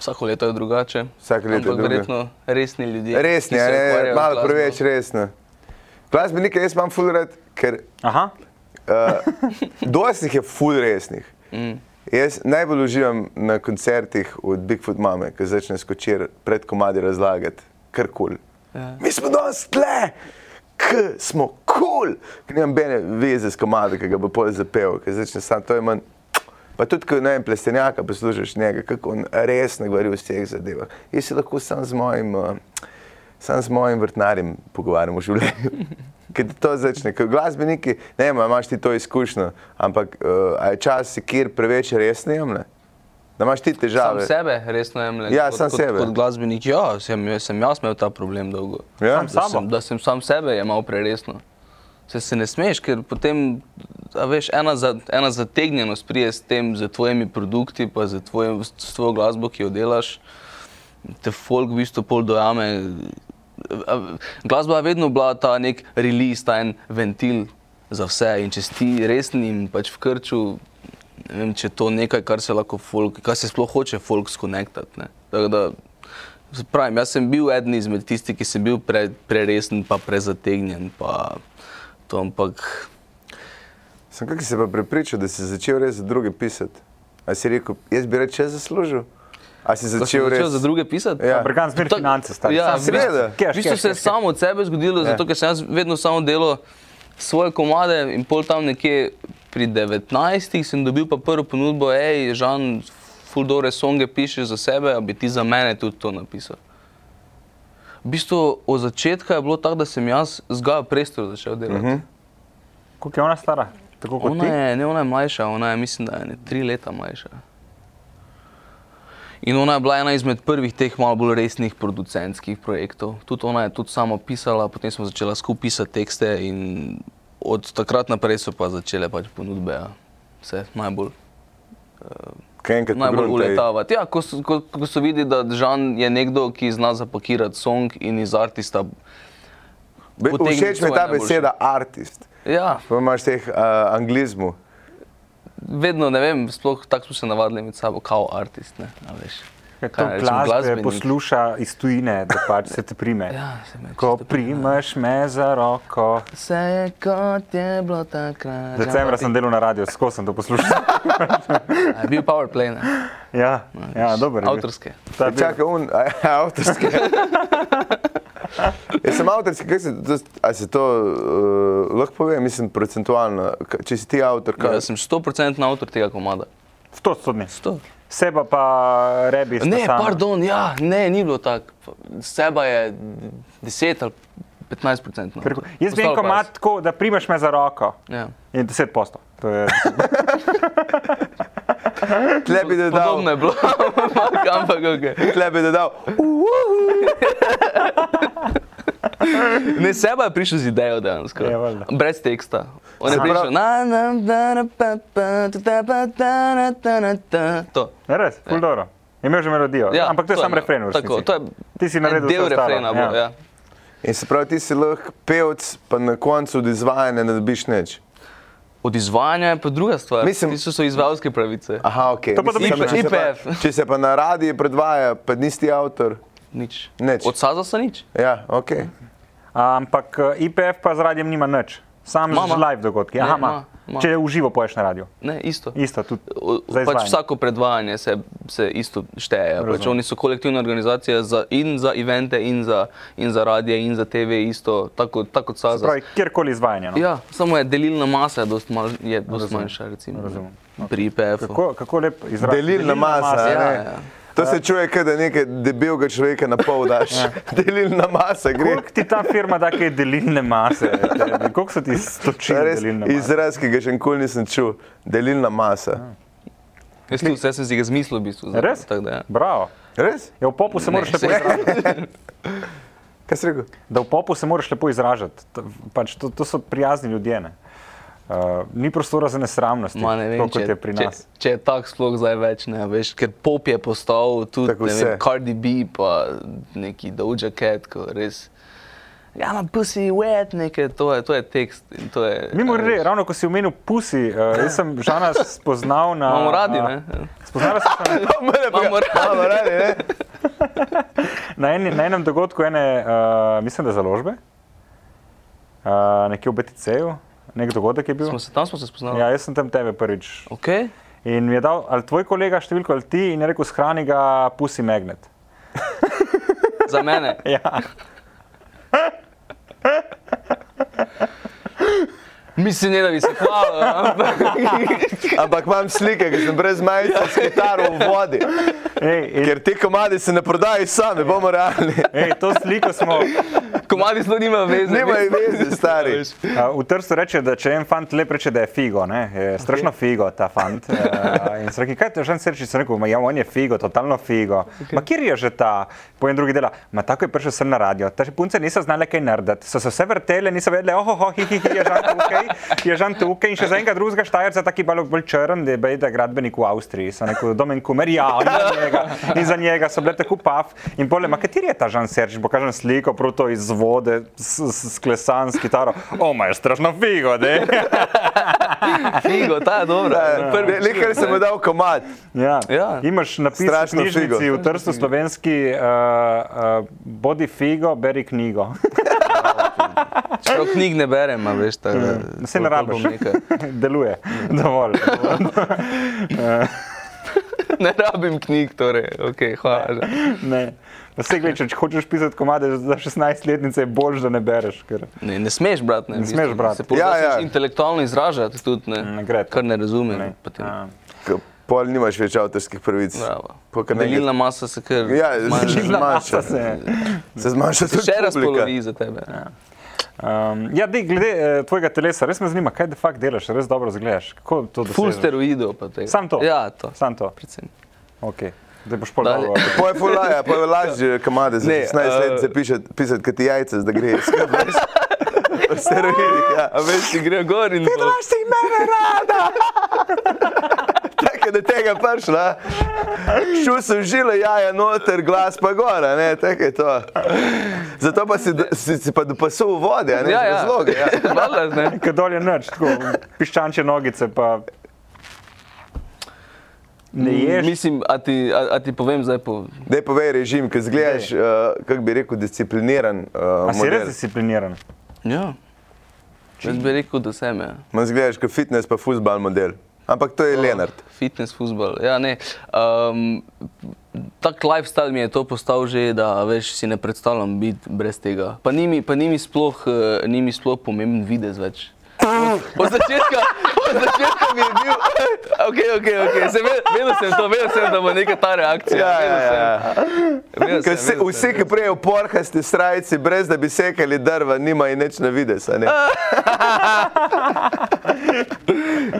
Speaker 2: vsako leto je drugače.
Speaker 3: Vsako leto je
Speaker 2: Ampak
Speaker 3: drugo.
Speaker 2: verjetno resni ljudje.
Speaker 3: Resni,
Speaker 2: Ja, ki se
Speaker 3: a ne,
Speaker 2: ukvarjajo z
Speaker 3: malo
Speaker 2: glasbo.
Speaker 3: preveč resno. Glasbenike jaz imam full rad, ker
Speaker 4: Aha,
Speaker 3: Doslih Eh, je ful resnih. Mm. Jaz najbolj uživam na koncertih od Bigfoot Mame, ki začne skočir pred komadi razlagati, kar kul. Cool.
Speaker 2: Ja.
Speaker 3: Yeah. Mi smo danes tle, k smo kul, cool. ker nimam bene veze s komadi, ki ga bo pol zapel, ki začne sam to imen. Pa tudi, ko ne vem, plestenjaka poslušaš njega, kako on resno govori o vseh zadevah. Jaz se lahko sam z mojim, uh, sam z mojim vrtnarjem pogovarjam o življenju. Ker ti to začne, kot glasbeniki, ne vem, a imaš ti to izkušnjo, ampak uh, a je čas, kjer preveč resni jemlje, da imaš ti
Speaker 2: Sam
Speaker 3: težave.
Speaker 2: sebe resno jemljem.
Speaker 3: Ja,
Speaker 2: kot,
Speaker 3: sam
Speaker 2: kot,
Speaker 3: sebe.
Speaker 2: Kot glasbenik, ja, sem, sem jaz imel ta problem dolgo.
Speaker 3: Ja? Sam
Speaker 2: da,
Speaker 4: sabo?
Speaker 2: sem, da sem sam sebe jemal preresno. Se, se ne smeš, ker potem a veš, ena, za, ena zategnjenost prije s tem, z tvojimi produkti, pa z, tvojim, s tvojo glasbo, ki jo delaš, te folk v bistvu pol dojame. A- Glasba je vedno bila ta nek release, ta en ventil za vse in če si ti resni in pač v krču, ne vem, če je to nekaj, kar se lahko folk, kar se sploh hoče folk skonektati. ne. Tako da, saj Pravim, jaz sem bil eden izmed tistih, ki sem bil pre, preresen, pa prezategnjen. Pa to, ampak
Speaker 3: Sem kaj se pa prepričal, da si začel res za druge pisati. A si rekel, jaz bi reče zaslužil. A si
Speaker 2: ko sem
Speaker 3: začel
Speaker 2: začel
Speaker 3: res
Speaker 2: za druge pisati.
Speaker 3: Ja.
Speaker 4: Amerikan zmer
Speaker 2: To-
Speaker 4: finance stari.
Speaker 2: Ja,
Speaker 4: sam
Speaker 2: v
Speaker 4: si res-
Speaker 3: seveda.
Speaker 4: Cash,
Speaker 2: v bistvu
Speaker 4: cash,
Speaker 2: se je
Speaker 4: cash, Ja. cash.
Speaker 2: samo od sebe zgodilo, zato ker sem jaz vedno samo delal svoje komade in pol tam nekje pri 19. sem dobil pa prvo ponudbo, hej, Žan, fuldore songe pišeš za sebe, a bi ti za mene tudi to napisal. V bistvu od začetka je bilo tako, da sem jaz z Gajo Prestor začel delati. Uh
Speaker 3: Mhm.
Speaker 2: -huh.
Speaker 4: Koliko je ona stara? Tako kot
Speaker 2: Ona
Speaker 4: ti?
Speaker 2: je, ne, ona je mlajša, ona je, mislim, da je ne, tri leta mlajša. In ona je bila ena izmed prvih teh malo bolj resnih producentskih projektov. Tudi ona je tudi sama pisala, potem smo začela skupaj pisati tekste in od takrat naprej so pa začele pač ponudbe. Ja. Vse najbolj,
Speaker 3: kaj enkrat
Speaker 2: najbolj
Speaker 3: pogruntaj.
Speaker 2: uletavati. Ja, ko, so- ko, ko so videli, da Žan je nekdo, ki zna zapakirati song in iz artista.
Speaker 3: Be-
Speaker 2: potegniti
Speaker 3: Všeč mi je
Speaker 2: svoje
Speaker 3: ta
Speaker 2: najboljše.
Speaker 3: beseda artist.
Speaker 2: Ja,
Speaker 3: Pa imaš teh uh, anglizmov.
Speaker 2: vedno ne vem, sploh tako smo se navadili med sabo, kot artist. Ne, a veš.
Speaker 4: Ker
Speaker 2: Kaj
Speaker 4: To
Speaker 2: naj rečem,
Speaker 4: glasbe
Speaker 2: glasbenik.
Speaker 4: posluša iz tujine, da pač se te prime.
Speaker 2: Ja, se me
Speaker 4: Ko
Speaker 2: čisto
Speaker 4: primeš me za roko.
Speaker 2: Vse je kot je bilo takrat.
Speaker 4: Decembra sem delal na radiju, skozi sem to poslušal.
Speaker 2: delal. Je bil PowerPlay, ne?
Speaker 4: Ja, ja dobro. je bil.
Speaker 2: Avtorske.
Speaker 4: Ta
Speaker 3: Ja,
Speaker 4: bil-
Speaker 3: Čakaj, un, a, avtorski. Jaz sem avtorski, kaj se to, a se to uh, lahko pove, mislim, procentualno. K- Če si ti avtor, kaj
Speaker 2: Ja, sem 100% avtor tega komada.
Speaker 4: Sto sodni.
Speaker 2: 100.
Speaker 4: Seba pa rebi. sta
Speaker 2: Ne,
Speaker 4: sama.
Speaker 2: pardon, ja, ne, ni bilo tako. Seba je 10 ali 15%.
Speaker 4: Ker-
Speaker 2: avtor.
Speaker 4: Jaz bi en
Speaker 2: Ostalo pa
Speaker 4: komat tako, da primeš me za roko.
Speaker 2: Ja.
Speaker 4: In 10 posto. To je
Speaker 3: tle bi dodal.
Speaker 2: Podobno je bilo, ampak ok.
Speaker 3: Tle bi dodal.
Speaker 2: Ne, seba je prišel z idejo dejansko.
Speaker 4: Ja, valjda.
Speaker 2: Brez teksta. On je
Speaker 3: Se
Speaker 2: prišel.
Speaker 3: pravi-
Speaker 2: na, na, da, na, pa, pa, tu, ta, pa, ta, na, ta, na, ta. To.
Speaker 4: Ja, res, kuldoro. Je imel že melodijo,
Speaker 2: Ja,
Speaker 4: ampak to je
Speaker 2: to je
Speaker 4: sam
Speaker 2: imel.
Speaker 4: refren. v
Speaker 2: Tako,
Speaker 4: resnici.
Speaker 2: to je
Speaker 4: Ti si naredil
Speaker 2: Del
Speaker 4: vse ostalo,
Speaker 2: refrena bo, ja.
Speaker 3: In se pravi, ti si lahko pevc, pa na koncu od izvajanja ne dobiš nič.
Speaker 2: Od izvajanja je pa druga stvar.
Speaker 3: Mislim-
Speaker 2: Mislim, so, so izvajalske pravice.
Speaker 3: Aha, ok.
Speaker 4: To pa dobiš.
Speaker 3: če, se pa,
Speaker 2: IPF.
Speaker 3: če se pa na radiju predvaja, pa nisi ti avtor.
Speaker 2: Nič.
Speaker 3: Nič.
Speaker 2: Od Saza so nič.
Speaker 3: Ja, ok.
Speaker 4: Ampak eh, IPF pa z radijem nima nič. Sam
Speaker 2: Ma,
Speaker 4: imaš
Speaker 2: ma.
Speaker 4: live dogodke.
Speaker 2: Ne,
Speaker 4: Aha,
Speaker 2: ma,
Speaker 4: ima.
Speaker 2: ma.
Speaker 4: Če v živo poješ na radiju.
Speaker 2: Ne, isto.
Speaker 4: Isto tudi.
Speaker 2: O-
Speaker 4: za
Speaker 2: Pač
Speaker 4: izvajanje.
Speaker 2: vsako predvajanje se, se isto šteje. Pač
Speaker 4: Razumem.
Speaker 2: oni so kolektivna organizacija za, in za evente, in za, in za radije, in za TV, isto, tako, tako kot Saza.
Speaker 4: Pravi, kjerkoli izvajanje. No.
Speaker 2: Ja, samo je delilna masa, je dosti mal, je dost manjša. Recimo, ne.
Speaker 4: razumem.
Speaker 2: Pri IPF-u.
Speaker 4: Kako, kako lep izraz.
Speaker 3: Delilna masa.
Speaker 2: masa,
Speaker 3: a ne?
Speaker 2: ja, ja.
Speaker 3: To se čuje, kot da nekaj debelega človeka na pol daš. Delilna masa gre.
Speaker 4: Koliko ti ta firma da kaj delilne mase? Koliko so
Speaker 3: To
Speaker 4: ti
Speaker 3: je
Speaker 4: stočili
Speaker 3: res
Speaker 4: delilne mase?
Speaker 3: Izraz, ki ga še nikoli nisem čul, delilna masa.
Speaker 2: Jaz tudi vse sem si ga zmislil, v bistvu. za-
Speaker 4: Res?
Speaker 2: Tako da, ja.
Speaker 4: Bravo.
Speaker 3: Res?
Speaker 4: Ja, v popu se
Speaker 2: Ne,
Speaker 4: moraš lepo
Speaker 2: se-
Speaker 4: izražati.
Speaker 3: Kaj si rekel?
Speaker 4: Da v popu se moraš lepo izražati. To- Pač to, to so prijazni ljudje. Ne? Uh, ni prostora za nesramnost,
Speaker 2: Ma, ne vem,
Speaker 4: kot je pri nas.
Speaker 2: Če, če je tak slog zdaj več, ne veš, ker pop je postal tudi
Speaker 3: Tako
Speaker 2: ne
Speaker 3: vse.
Speaker 2: vem, Cardi B, pa neki Doja Cat, ko res. Ja, ma pussy wet, nekaj, to je, to je tekst. in To je,
Speaker 4: Mimo
Speaker 2: a veš.
Speaker 4: grede, ravno ko si omenil pusi, uh, jaz sem Žana spoznal na.
Speaker 2: Imamo radi,
Speaker 4: na-
Speaker 2: ne?
Speaker 4: Spoznala sem se na,
Speaker 2: Imamo radi.
Speaker 3: Malo radi, ne?
Speaker 4: na, en, na enem dogodku ene, uh, mislim, da založbe, uh, nekje v BTC-ju, nek dogodek je bil.
Speaker 2: Smo se, tam smo se spoznali.
Speaker 4: Ja, jaz sem tam tebe prvič.
Speaker 2: Okay.
Speaker 4: In mi je dal ali tvoj kolega številko ali ti in je rekel, shrani ga pusi magnet.
Speaker 2: Za mene.
Speaker 4: Ja.
Speaker 2: Mislim, ne, da bi se hvalil, ampak
Speaker 3: Ampak imam slike, ki sem brez majice s kitaro v vodi.
Speaker 4: Ej, in, Ja.
Speaker 3: Ker ti komadi se ne prodajajo sami, bomo realni.
Speaker 4: ej, to sliko smo.
Speaker 2: komadi sploh nima veze.
Speaker 3: Nimajo veze, stari.
Speaker 2: Veš.
Speaker 4: Uh, v Trstu reče, da če en fant lep reče, da je figo, ne? je strašno figo ta fant. Uh, in sem rekel, kaj ti že reče, sem rekel, "Ma ja, on je figo, totalno figo. Okay. Ma kjer je že ta? Pojem drugi dela, ma tako je prišel sem na radio, ta še punce niso znale kaj narediti, so se vse vrtele, niso vedele, oh, oh, hi, hi, hi, je žan tukaj, je žan tukaj in še za enega drugega štajerca, taki malo bolj črn, da je bejda gradbenik v Avstriji, sem rekel, domen kumer, ja, on je njega, in za njega so bile tako paf. In pole, ma kateri je ta Žan Serž, bo kažem sliko, proto iz vode, sklesan s kitaro. O, ma je strašno figo, ne?
Speaker 2: Figo, ta je
Speaker 3: Ja.
Speaker 2: dobra. Prvi
Speaker 3: Nekaj sem mu dal komat.
Speaker 4: Ja.
Speaker 2: Ja.
Speaker 4: Ja. Imaš napis v
Speaker 3: Strašno
Speaker 4: knjižnici
Speaker 3: figo.
Speaker 4: v Trstu, slovenski, uh, uh, bodi figo, beri knjigo.
Speaker 2: Čeprav knjig ne berem, a veš, tako da.
Speaker 4: Mm. Se
Speaker 2: to-
Speaker 4: ne
Speaker 2: to
Speaker 4: rabiš.
Speaker 2: bom nekaj.
Speaker 4: Deluje, dovolj.
Speaker 2: Ne rabim knjig, torej, ok, hvala. Žan.
Speaker 4: Ne. Vse gledaj, če hočeš pisati komade za 16-letnice, je bolj, da ne bereš. Ker...
Speaker 2: Ne, ne smeš, brat. Ne, v bistvu.
Speaker 4: smeš, brat.
Speaker 2: Se pa ja,
Speaker 3: Ja,
Speaker 2: ja.
Speaker 3: ja.
Speaker 2: intelektualno izražati tudi, ne,
Speaker 4: Ne gre to.
Speaker 2: kar ne razumem.
Speaker 4: Ne. Ja.
Speaker 2: potem.
Speaker 4: A,
Speaker 3: Ko Pol nimaš več avtorskih pravic.
Speaker 2: Bravo.
Speaker 3: Pol kar nekaj-
Speaker 2: Delilna masa se kar
Speaker 3: Ja,
Speaker 2: zmanjša.
Speaker 3: delilna-
Speaker 4: masa
Speaker 3: Zmanjša.
Speaker 4: se.
Speaker 3: Se zmanjša tudi
Speaker 2: Še raz
Speaker 3: publika.
Speaker 2: polovi za tebe. Ja.
Speaker 4: Um, ja, dej, glede eh, tvojega telesa, res me zanima, kaj de facto delaš, res dobro zgledaš. Kako to dosežeš?
Speaker 2: Full steroidov. pa tega.
Speaker 4: Sam to?
Speaker 2: Ja, to.
Speaker 4: Sam to.
Speaker 2: Predvsem.
Speaker 4: Okay. Zdaj boš pol
Speaker 2: Dalje.
Speaker 4: dobro.
Speaker 3: Pol je ful laja, pol je lažje kamade za
Speaker 2: Ne,
Speaker 3: 16 let
Speaker 2: eh,
Speaker 3: se pišati, pisati kot ti jajce, da gre skrb. veš. O steroidih, ja.
Speaker 2: A veš, ti gre gor in dol.
Speaker 3: si mene rada! Tako je do tega prišla. Šel sem žile, jaja noter, glas pa gora, ne, tako je to. Zato pa si, do- si, si pa dopasil vode, a ne,
Speaker 2: Ja, ja.
Speaker 3: razloge. Ja.
Speaker 2: Hvala, ne.
Speaker 4: Ker dol je noč, tako piščanče nogice, pa ne ješ.
Speaker 2: Mm, Mislim, a ti, a, a ti povem zdaj po...
Speaker 3: Daj povej režim, ki zgledaš, uh, kako bi rekel, discipliniran. Uh,
Speaker 4: A si res discipliniran?
Speaker 2: Ja. Jaz bi rekel, da sem. Ja.
Speaker 3: Man zgledaš kot fitness pa futbal model. Ampak to je
Speaker 2: Oh.
Speaker 3: Lenard.
Speaker 2: Fitness, futbol. Ja, ne. um, tak lifestyle mi je to postal že, da več si ne predstavljam biti brez tega. Pa ni mi, pa ni mi, sploh, eh, ni mi sploh pomemben videz več. Od začetka, od začetka mi je bil, okay, okay, okay. Se, ve, vedel sem to, vedel sem, da bo neka ta reakcija.
Speaker 3: Ja, ja,
Speaker 2: vedel sem.
Speaker 3: ja.
Speaker 2: Vedel
Speaker 3: Ker
Speaker 2: sem,
Speaker 3: Se,
Speaker 2: vedel sem. ja.
Speaker 3: vsi, ki prijejo porhaste strajci, brez da bi sekali drva, nimajo nič na vides. a ne.
Speaker 2: Ah.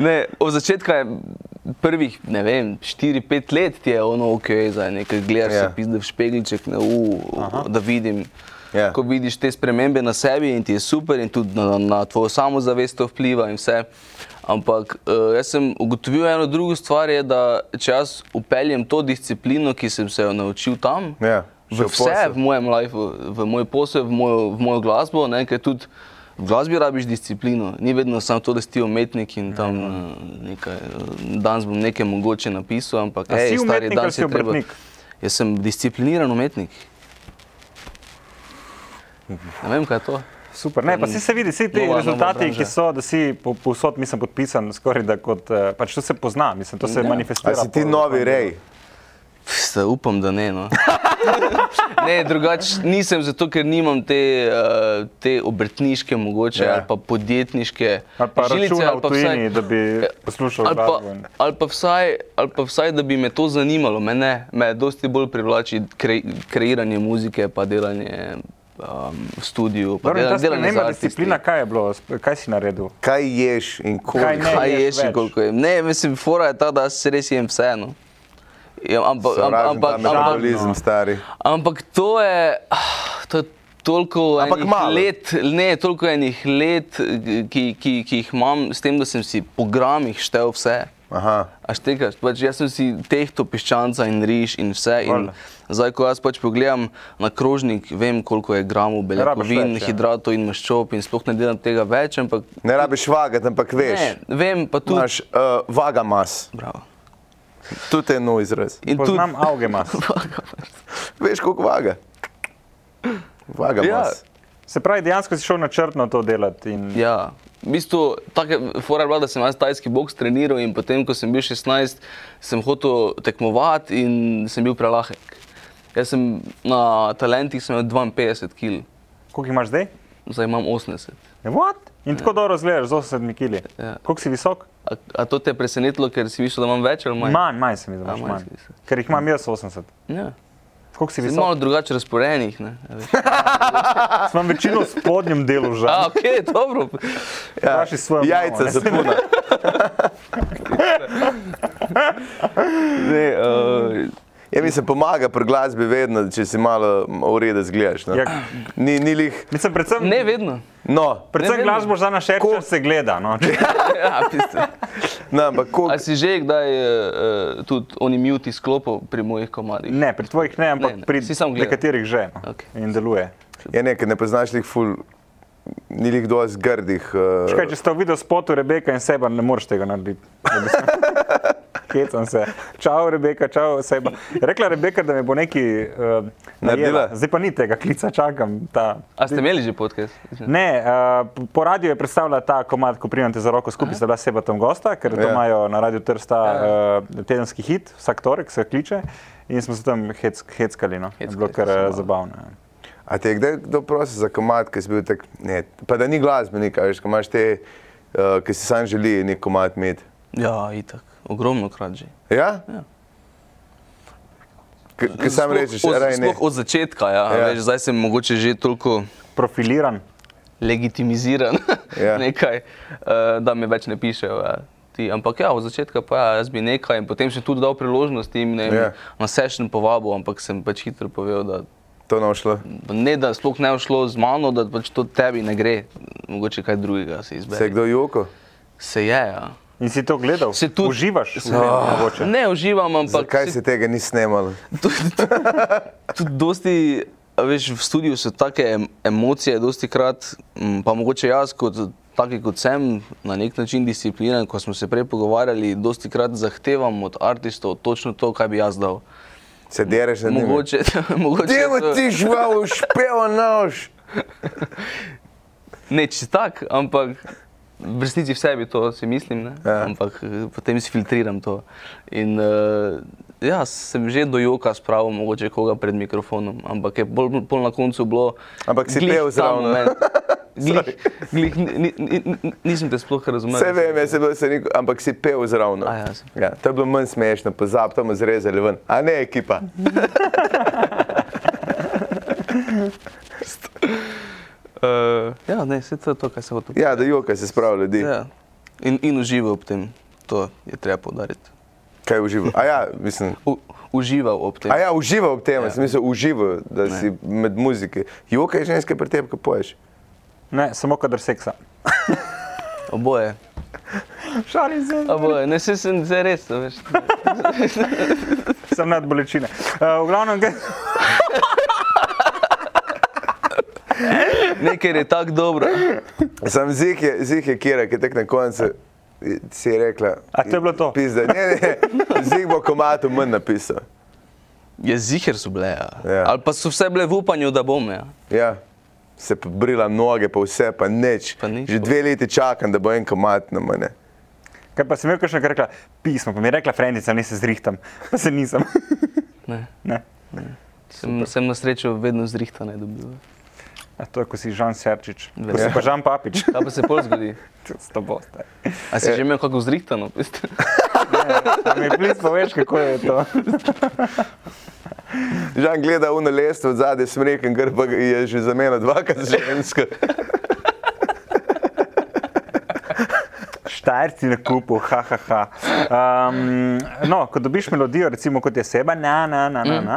Speaker 2: Ne, od začetka je prvih, ne vem, 4-5 let ti je ono ok, za nekaj gledaš, yeah.
Speaker 3: Ja.
Speaker 2: se pizde v špeglček, ne, u, da vidim.
Speaker 3: Ja.
Speaker 2: Ko vidiš te spremembe na sebi in ti je super, in tudi na, na tvojo samozavest to vpliva in vse. Ampak eh, jaz sem ugotovil eno drugo stvar, je, da če jaz upeljem to disciplino, ki sem se jo naučil tam,
Speaker 3: Ja, še
Speaker 2: v
Speaker 3: v
Speaker 2: vse
Speaker 3: posel.
Speaker 2: v mojem lifeu, v moj posel, v mojo, v mojo glasbo, ne, ker tudi v glasbi rabiš disciplino. Ni vedno samo to, da si ti umetnik
Speaker 4: Ja,
Speaker 2: in tam eh, nekaj, eh, danes bom nekaj mogoče napisal, ampak
Speaker 4: A si
Speaker 2: ej, stari
Speaker 4: umetnik
Speaker 2: dan
Speaker 4: ali si
Speaker 2: je treba-
Speaker 4: obrtnik?
Speaker 2: Jaz sem discipliniran umetnik.
Speaker 4: Mhm.
Speaker 2: Ne vem, kaj je to.
Speaker 4: Super, ne, pa si se vidi, vsi ti
Speaker 2: Mm. Nova- nova
Speaker 4: rezultati,
Speaker 2: branža.
Speaker 4: ki so, da si po- povsod, mislim, podpisan, skoraj da kot, eh, pač to se pozna, mislim, to se
Speaker 2: Ja.
Speaker 3: A
Speaker 4: manifestira.
Speaker 3: si ti
Speaker 4: po-
Speaker 3: novi rej?
Speaker 2: Pst, upam, da ne. No. ne drugače nisem, zato ker nimam te, eh, te obrtniške, mogoče
Speaker 3: Ja.
Speaker 2: ali pa podjetniške
Speaker 4: Ali pa
Speaker 2: žilice,
Speaker 4: računa v tujini, da bi
Speaker 2: Ja.
Speaker 4: poslušal
Speaker 2: ali pa,
Speaker 4: glasbo. in-
Speaker 2: ali, pa vsaj, ali pa vsaj, da bi me to zanimalo. Me, ne, me dosti bolj privlači kre, kreiranje muzike, pa delanje um, v studiu. Pa
Speaker 4: Dobro, in ta
Speaker 2: dela- delanje z
Speaker 4: sprememba
Speaker 2: artisti.
Speaker 4: disciplina, kaj je bilo, Sp- kaj si naredil?
Speaker 3: Kaj ješ in
Speaker 4: Kaj
Speaker 3: koliko?
Speaker 4: ne?
Speaker 2: Kaj
Speaker 4: ješ
Speaker 2: ješ in
Speaker 4: več.
Speaker 2: koliko jem? Ne, mislim, fora je ta, da jaz res jem vseeno. Ja, ampak, ampak,
Speaker 3: Sovražim ta
Speaker 2: ampak, no. ampak,
Speaker 3: metabolizem, stari.
Speaker 2: Ampak to je, ah, to je toliko
Speaker 3: Ampak
Speaker 2: enih
Speaker 3: malo.
Speaker 2: let, ne, toliko enih let, eh, ki, ki, ki jih imam, s tem, da sem si po gramih štel vse.
Speaker 3: Aha.
Speaker 2: Aštekaš, pač jaz sem si tehto piščanca in riž in vse. In
Speaker 4: Valjda.
Speaker 2: zdaj, ko jaz pač pogledam na krožnik, vem, koliko je gramov beljakovin,
Speaker 4: več, ja.
Speaker 2: hidratov in maščob in sploh ne delam tega več, ampak
Speaker 3: Ne rabiš vagati, ampak veš.
Speaker 2: ne, vem pa tudi.
Speaker 3: Imaš uh, vaga mas.
Speaker 2: Bravo.
Speaker 3: Tudi je nov izraz.
Speaker 2: In
Speaker 4: Poznam Augemas.
Speaker 3: Veš, koliko vaga. Vaga
Speaker 2: Ja.
Speaker 3: mas.
Speaker 4: Se pravi, dejansko si šel načrtno to delati. In...
Speaker 2: Ja, v bistvu taka fora je bila, da sem jaz tajski boks treniral in potem, ko sem bil 16, sem hotel tekmovati in sem bil prelahek. Jaz sem na talentih sem imel 52 kg,
Speaker 4: Koliko imaš zdaj?
Speaker 2: zdaj imam 80.
Speaker 4: What? In tako dobro zgledaš z 80 kg.
Speaker 2: Ja.
Speaker 4: Koliko si visok?
Speaker 2: A, a to te je presenetilo, ker si mislil, da imam več ali manj?
Speaker 4: Manj, manj se mi zdi, da
Speaker 2: A,
Speaker 4: imaš
Speaker 2: manj
Speaker 4: manj.
Speaker 2: si visok.
Speaker 4: Ker jih imam jaz 80.
Speaker 2: Ja.
Speaker 4: Koliko si
Speaker 2: Sem
Speaker 4: visok?
Speaker 2: malo drugače razporejenih. ne, a veš.
Speaker 4: Imam večino v spodnjem delu že.
Speaker 2: A, ok, dobro.
Speaker 3: Ja.
Speaker 4: Vprašaj svojo mamo,
Speaker 3: Jajca
Speaker 4: ne?
Speaker 3: zapuna.
Speaker 2: Ne, uh,
Speaker 3: Ja, mi se pomaga pri glasbi vedno, če si malo ureda zgledaš. No.
Speaker 4: Ja.
Speaker 3: Ni, ni lih.
Speaker 4: Mislim, predvsem,
Speaker 2: Ne vedno.
Speaker 3: No,
Speaker 4: predvsem
Speaker 2: vedno.
Speaker 4: glasbo za naš
Speaker 3: Ko-
Speaker 4: šerče se gleda. No. Če-
Speaker 2: Ja, tisto.
Speaker 3: no, ampak koliko-
Speaker 2: A si že kdaj eh, eh, tudi oni mute izklopil pri mojih komadih?
Speaker 4: Ne, pri tvojih ne, ampak
Speaker 2: Ne, ne,
Speaker 4: pri
Speaker 2: si samo gledal.
Speaker 4: nekaterih že. No.
Speaker 2: Okej.
Speaker 4: In deluje.
Speaker 3: ja, nekaj ne poznaš lih ful, ni lih dovolj zgrdih. eh,
Speaker 4: Škaj, če ste videli spotu Rebeka in Seba, ne moreš tega narediti. Hecam se. Čau, Rebeka, čau, Seba. Je Rekla Rebeka, da me bo neki uh,
Speaker 3: Naredila?
Speaker 4: Zdaj pa ni tega klica, čakam. Ta.
Speaker 2: A ste imeli že podcast?
Speaker 4: Ne, uh, po radiju je predstavljala ta komad, ko primete za roko skupaj, sta bila seba tam gosta, ker to
Speaker 3: Ja.
Speaker 4: imajo na radiju Trsta
Speaker 2: Ja.
Speaker 4: uh, tedenski hit, vsak torek se kliče in smo se tam hec, heckali. No. Je bilo
Speaker 2: Heckali
Speaker 4: kar
Speaker 2: ste se
Speaker 4: eh,
Speaker 2: malo.
Speaker 4: zabavno. ja.
Speaker 3: A te je kdaj kdo prosil za komat, ki si bil tak, ne, pa da ni glasbenik, a veš, ko imaš te, uh, ki si sam želi nek komat imeti.
Speaker 2: Ja, itak. Ogromno krat že.
Speaker 3: Ja?
Speaker 2: Ja.
Speaker 3: Ki sam
Speaker 2: Sploh
Speaker 3: rečeš,
Speaker 2: od,
Speaker 3: raj ne.
Speaker 2: sploh od začetka, ja.
Speaker 3: Ja.
Speaker 2: ja. Veš, zdaj sem mogoče že toliko
Speaker 4: Profiliran.
Speaker 2: legitimiziran,
Speaker 3: Ja.
Speaker 2: ja. nekaj, eh, da me več ne pišejo. Ja. Ti, ampak ja, od začetka pa ja, jaz bi nekaj in potem še tudi dal priložnost jim ne,
Speaker 3: Ja.
Speaker 2: yeah. na session povabo, ampak sem pač hitro povedal, da
Speaker 3: To ne bo šlo.
Speaker 2: da ne, da sploh ne bi šlo z mano, da pač to tebi ne gre, mogoče kaj drugega
Speaker 3: Se
Speaker 2: se
Speaker 3: je
Speaker 2: izbere.
Speaker 3: kdo joko?
Speaker 2: Se je, ja.
Speaker 4: In si to gledal?
Speaker 2: Se tudi- No.
Speaker 4: Uživaš?
Speaker 2: Se-
Speaker 4: v tem,
Speaker 3: Ah,
Speaker 4: mogoče?
Speaker 2: Ne uživam, ampak
Speaker 3: Zakaj
Speaker 2: se-
Speaker 3: si tega ni snemal?
Speaker 2: tudi, tudi dosti, a veš, v studiu so take em- emocije, dosti krat, m, pa mogoče jaz, kot, taki kot sem, na nek način discipliniran, ko smo se prej pogovarjali, dosti krat zahtevam od artistov točno to, kaj bi jaz dal.
Speaker 3: Se dereš na njim?
Speaker 2: Mogoče, mogoče je
Speaker 3: Demo
Speaker 2: to-
Speaker 3: ti žval, špeva nož!
Speaker 2: ne čist tak, ampak v resnici v sebi to si mislim, ne?
Speaker 3: Ja.
Speaker 2: ampak eh, potem izfiltriram to. In uh, ja, sem že do joka spravil, mogoče koga pred mikrofonom, ampak je bolj, bolj na koncu bilo.
Speaker 3: Ampak si
Speaker 2: glih
Speaker 3: pel
Speaker 2: ta
Speaker 3: zraven.
Speaker 2: moment. Glih, glih, ni, ni, ni, nisem te sploh razumel.
Speaker 3: Vse vem, jaz sem bil, se nik- ampak si pel zraven.
Speaker 2: A, ja, sem.
Speaker 3: Ja, to je bilo manj smešno, pozab, to bomo zrezali ven. A ne ekipa.
Speaker 2: Uh, ja, ne, se to je to, kar se hoče.
Speaker 3: Ja, da joka se spravi ljudi.
Speaker 2: Ja. In, in užival ob tem, to je treba podariti.
Speaker 3: Kaj uživa? A ja, mislim.
Speaker 2: U, užival ob tem.
Speaker 3: A ja, uživa ob tem, ja. sem mislil, uživa, da ne.
Speaker 2: Ne.
Speaker 3: si med muziki. Joka je ženske pri tebi, ko poješ.
Speaker 4: ne, samo kadar seksa.
Speaker 2: Oboje.
Speaker 4: Šalim se.
Speaker 2: Oboje. Ne, se sem se res, a veš.
Speaker 4: Sem nad bolečine. Uh, v glavnem, kaj-
Speaker 2: Nekaj je tako dobro.
Speaker 3: Sam zig je, zig je kira, ki je tek na koncu. i- Si je rekla,
Speaker 4: A to je bilo to?
Speaker 3: Pizda. Ne, ne, zig bo komatu manj napisal.
Speaker 2: Ja, ziger so bile. Ja.
Speaker 3: Ja.
Speaker 2: Ja. Ali pa so vse bile v upanju, da bom. Ja.
Speaker 3: Ja. Se pa brila noge, pa vse, pa nič.
Speaker 2: Pa nič.
Speaker 3: Že dve leti čakam, da bo en komat na mene.
Speaker 4: kaj pa sem imel, kakšno, kar je rekla, pismo, pa mi je rekla, frendica, ne se zrihtam, pa se nisem.
Speaker 2: Ne.
Speaker 4: ne.
Speaker 2: Sem, sem na srečo vedno zrihtane dobil.
Speaker 4: A to je, ko si Žan Serčič, ko si
Speaker 2: Verjetno.
Speaker 4: pa Žan Papič.
Speaker 2: Kaj pa se pol zgodi?
Speaker 4: S tabo ste.
Speaker 2: A si že imel kako zrihtano? veste?
Speaker 4: A mi plis poveš, kako je to.
Speaker 3: Žan gleda uno lestvo od zadaj, smreken grba je že za mene dvakrat ženska.
Speaker 4: Štajerci na kupu, haha. Ha, ha. um, no, ko dobiš melodijo, recimo kot je seba, na, na, na, na, na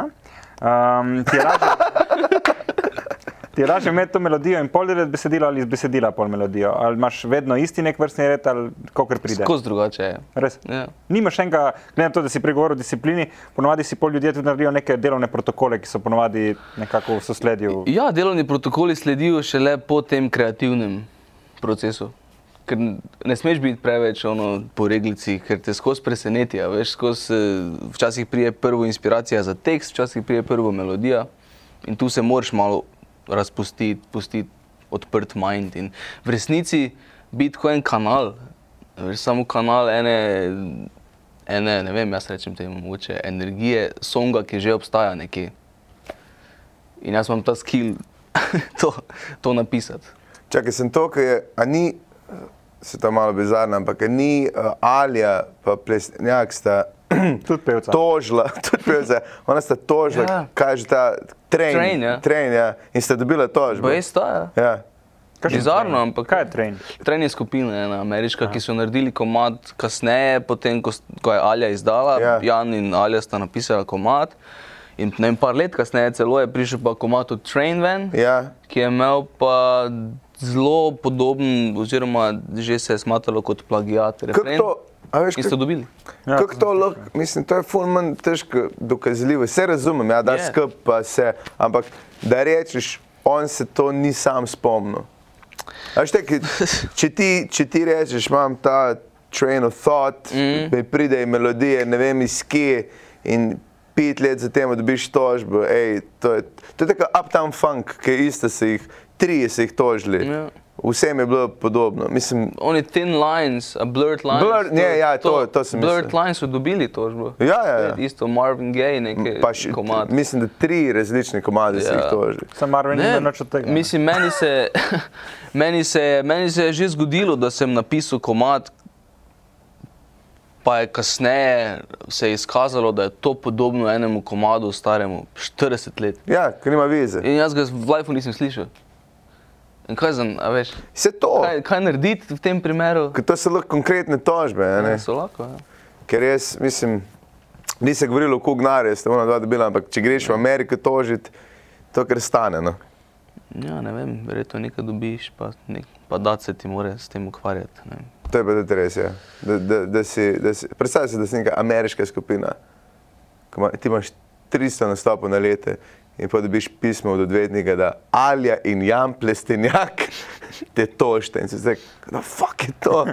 Speaker 4: um, ti je lažje. Ti je lažje imeti to melodijo in pol delati besedilo ali iz besedila pol melodijo. Ali imaš vedno isti nek vrstni red, ali kako pride.
Speaker 2: Skozi drugače je.
Speaker 4: Res.
Speaker 2: Ja.
Speaker 4: Nimaš enega, glede na to, da si pregovoril o disciplini, ponovadi si pol ljudje tudi naredijo neke delovne protokole, ki so ponovadi nekako v sosledju.
Speaker 2: ja, delovni protokoli sledijo šele po tem kreativnem procesu. Ker ne smeš biti preveč ono, po reglici, ker te skozi preseneti. a Veš, skozi, eh, včasih prije prvo inspiracija za tekst, včasih prije prvo melodija. In tu se moraš malo razpustiti, pustiti odprt mind. In v resnici biti kot en kanal, a veš, samo kanal ene, ene, ne vem, jaz rečem temu, mogoče energije, songa, ki že obstaja nekje. In jaz imam ta skill, to, to napisati.
Speaker 3: Čakaj, sem to, ki je, a ni, se to malo bizarno, ampak a ni uh, Alja pa Plesnjak sta
Speaker 4: Tudi pevca.
Speaker 3: tožila, tudi pevca, ona sta tožila, ja.
Speaker 2: Ja.
Speaker 3: kaj je že ta train,
Speaker 2: Train, ja.
Speaker 3: train ja, in sta dobila tožbo.
Speaker 2: Bej staja.
Speaker 3: Ja.
Speaker 4: Kaj Kakšen
Speaker 2: Bizarno,
Speaker 4: trening?
Speaker 2: ampak.
Speaker 4: Kaj je trening?
Speaker 2: Trening skupine, ena ameriška, Aha. ki so naredili komad kasneje, potem ko, s- ko je Alja izdala,
Speaker 3: Ja.
Speaker 2: yeah. Jan in Alja sta napisala komad. In ne vem, par let kasneje celo je prišel pa komad od Train Van,
Speaker 3: Ja.
Speaker 2: ki je imel pa zelo podoben, oziroma že se je smatralo kot plagiat. refren.
Speaker 3: to- a veš,
Speaker 2: In so
Speaker 3: kak-
Speaker 2: dobili.
Speaker 4: Ja,
Speaker 3: Kako to lahko, mislim, to je ful manj težko dokazljivo. Vse razumem, ja, da
Speaker 2: Je.
Speaker 3: skrb pa se, ampak da rečeš, on se to ni sam spomnil. A Veš, tak, če, ti, če ti rečeš, imam ta train of thought, mm. mi pridejo melodije, ne vem iz kje in pet let zatem dobiš tožbo, ej, to je, to je tako uptown funk, ki je isto se jih, tri se jih tožili.
Speaker 2: Ja.
Speaker 3: Vsem je bilo podobno. Mislim,
Speaker 2: Oni thin lines, a blurred lines.
Speaker 3: Blurred- ne, ja, to- to sem
Speaker 2: Blurred
Speaker 3: mislil.
Speaker 2: lines so dobili tožbo.
Speaker 3: Ja, ja, ja.
Speaker 2: To je Isto Marvin Gaye, nekaj
Speaker 3: pa še,
Speaker 2: komad.
Speaker 3: mislim, da tri različne komade se
Speaker 2: Ja.
Speaker 3: jih tožili.
Speaker 4: Sam Marvin
Speaker 2: Ne,
Speaker 4: ni nič od tega. ne.
Speaker 2: Mislim, meni se, meni, se, meni se je že zgodilo, da sem napisal komat, pa je kasneje se je izkazalo, da je to podobno enemu komadu staremu 40 let.
Speaker 3: Ja, ker nima vize.
Speaker 2: In jaz ga v lifeu nisem slišal. In kaj znam, a veš,
Speaker 3: Vse to,
Speaker 2: kaj, kaj narediti v tem primeru?
Speaker 3: ker to so lahko konkretne tožbe, a ne?
Speaker 2: So lahko. Ja.
Speaker 3: ker jaz mislim, ni se govorilo, koliko denarja ste ona dva dobila, ampak če greš v Ameriko tožiti, to kar stane. No.
Speaker 2: Ja, ne vem, verjetno nekaj dobiš, pa, nek, pa da se ti mora s tem ukvarjati. ne vem.
Speaker 3: To je pa tudi res. Ja. Da, da, da si, da si, predstavljaj si, da si neka ameriška skupina, ko ima, ti imaš 300 nastopov na leto in pa dobiš pismo od odvetnika, da Alja in Jan Plestenjak te tožite in si zdaj, da fuck je to.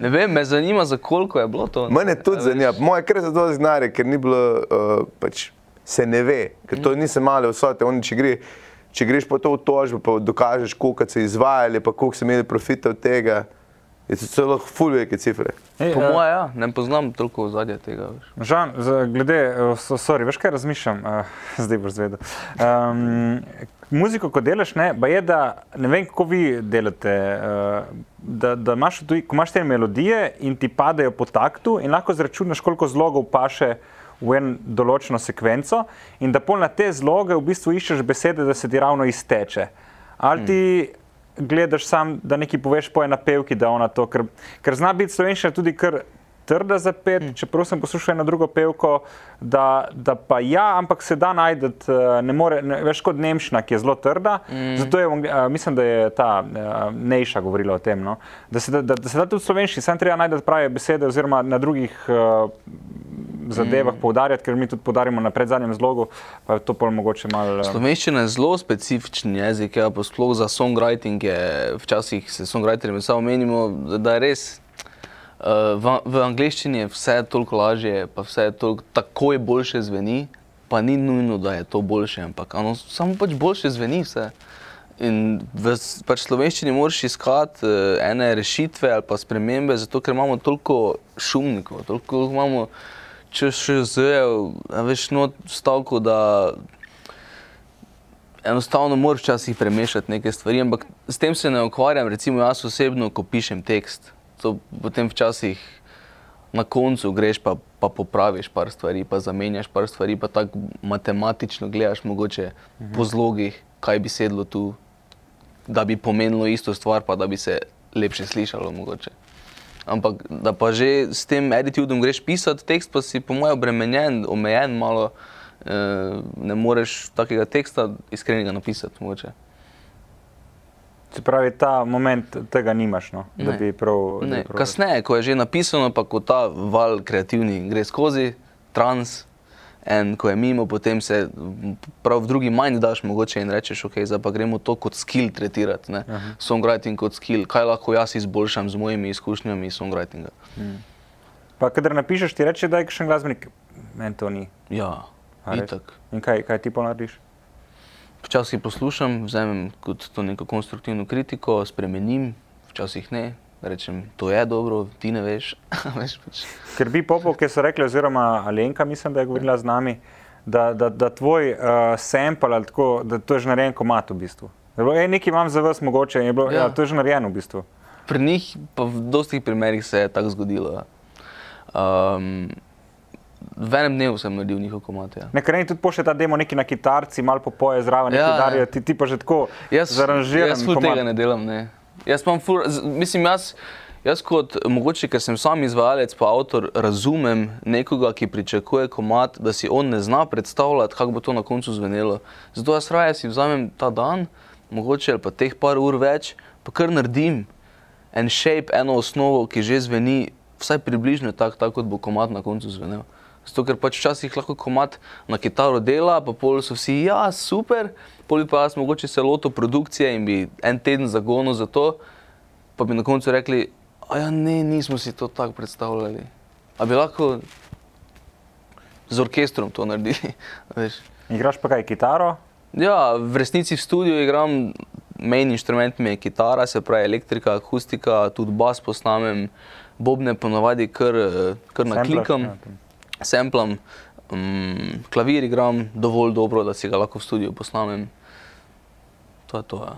Speaker 2: Ne vem, me zanima, za koliko je bilo to. ne.
Speaker 3: Mene
Speaker 2: A
Speaker 3: tudi
Speaker 2: veš.
Speaker 3: zanima, moje kar za to znare, ker ni bilo, uh, pač se ne ve, ker
Speaker 2: Mhm.
Speaker 3: to niso male vsote. Oni, če, gre, če greš po to v tožbo, pa dokažeš, koliko so izvajali, pa koliko so imeli profita od tega, je to celo fulveke cifre.
Speaker 4: Ej,
Speaker 2: Po
Speaker 4: eh,
Speaker 2: mojem, ja, ne poznam toliko zadnje tega. Veš.
Speaker 4: Žan, za- glede, eh, so- sorry, veš kaj razmišljam, uh, zdaj boš zvedel. Um, muziko, ko delaš, ne, pa je, da ne vem, kako vi delate. Uh, da, da imaš, tudi, ko imaš te melodije in ti padejo po taktu, in lahko zračunaš, koliko zlogov paše v eno določeno sekvenco, in da pol na te zloge v bistvu iščeš besede, da se ti ravno izteče. Ali ti gledaš sam, da nekaj poveš po ena pevki, da ona to, ker, ker zna biti slovenščina tudi kar trda za pet, mm. čeprav sem poslušal eno drugo pevko, da, da pa ja, ampak se da najdete, eh, ne more, ne, več kot nemščina, ki je zelo trda. Mm. Zato je, v angli- eh, mislim, da je ta eh, Nejša govorila o tem, no? da, se da, da, da se da tudi v slovenščini, sam treba najti prave besede oziroma na drugih uh, zadevah mm. poudarjati, ker mi tudi poudarjamo na predzadnjem zlogu, pa je to pol mogoče malo... eh,
Speaker 2: Slovenščina je zelo specifičen jezik, ja, pa sploh za songwriting. Je, včasih se songwriterjem samo menimo, da- da je res. Uh, v, v angleščini je vse toliko lažje, pa vse toliko takoj boljše zveni, pa ni nujno, da je to boljše, ampak ano, samo pač boljše zveni vse. In v s- pač slovenščini moraš iskati uh, ene rešitve ali pa spremembe, zato ker imamo toliko šumnikov, toliko imamo ČŠZ-ev, a veš, no, stavko, da enostavno moraš včasih premešati nekaj stvari, ampak s tem se ne ukvarjam, recimo jaz osebno, ko pišem tekst. To potem včasih na koncu greš pa, pa popraviš par stvari, pa zamenjaš par stvari, pa tako matematično gledaš mogoče mhm. po zlogih, kaj bi sedlo tu, da bi pomenilo isto stvar, pa da bi se lepše slišalo mogoče. Ampak da pa že s tem editudom greš pisati tekst, pa si po mojem obremenjen, omejen malo, eh, ne moreš takega teksta iskrenega napisati. Mogoče.
Speaker 4: Se pravi, ta moment tega nimaš, no? da
Speaker 2: Ne.
Speaker 4: bi prav... da bi
Speaker 2: Ne,
Speaker 4: prav-
Speaker 2: kasneje, ko je že napisano, pa ko ta val kreativni gre skozi, trans, in ko je mimo, potem se m, prav v drugi manj daš mogoče in rečeš, ok, zdaj pa gremo to kot skill tretirati, ne? songwriting kot skill, kaj lahko jaz izboljšam z mojimi izkušnjami iz songwritinga.
Speaker 4: Pa, kadar napišeš, ti reče, da je kakšen glasbenik, meni to ni.
Speaker 2: Ja,
Speaker 4: A res?
Speaker 2: itak.
Speaker 4: In kaj, kaj ti pa narediš?
Speaker 2: Včasih poslušam, vzamem kot to neko konstruktivno kritiko, spremenim, včasih ne. Rečem, to je dobro, ti ne veš. veš pač.
Speaker 4: Ker bi popov, ki so rekli, oziroma Alenka, mislim, da je govorila z nami, da, da, da tvoj uh, sample, ali tako, da to je že narejen komat v bistvu. Je bilo, "Ej, nekaj imam za vas mogoče, in je bilo, ja.
Speaker 2: Ja.
Speaker 4: Ja, to je že narejeno v bistvu.
Speaker 2: Pri njih, pa v dostih primerih se je tako zgodilo. ja. Um, v enem dnevu sem naredil njihov komat. Ja.
Speaker 4: Nekaj meni tudi pošlje ta demo, neki na kitarci, malo popoje zraven,
Speaker 2: Ja,
Speaker 4: ja,
Speaker 2: ja.
Speaker 4: nekaj darijo, ti, ti pa že tako
Speaker 2: Jaz,
Speaker 4: zaranžiraš.
Speaker 2: jaz ful tega ne delam. Ne. Jaz imam, ful, z- mislim, jaz, jaz kot mogoče, ker sem sam izvajalec, pa avtor, razumem nekoga, ki pričakuje komat, da si on ne zna predstavljati, kako bo to na koncu zvenelo. Zato jaz raje si vzamem ta dan, mogoče ali pa teh par ur več, pa kar naredim en shape, eno osnovo, ki že zveni vsaj približno tako, tak, kot bo komat na koncu zvenel. Zato, ker pač včasih lahko komat na kitaro dela, pa pol so vsi, ja, super, pol bi pa jaz mogoče se lotil produkcije in bi en teden zagonil za to, pa bi na koncu rekli, a ja, ne, nismo si to tako predstavljali. A bi lahko z orkestrom to naredili, veš.
Speaker 4: Igraš pa kaj kitaro,
Speaker 2: Ja, v resnici v studiu igram, main inštrument mi je kitara, se pravi elektrika, akustika, tudi bas posnamem, bobne ponavadi kar, eh, kar
Speaker 4: Samplaš,
Speaker 2: naklikam,
Speaker 4: ja, tam.
Speaker 2: semplam, um, klavir igram dovolj dobro, da si ga lahko v studiu posnamem. To je to. Ja.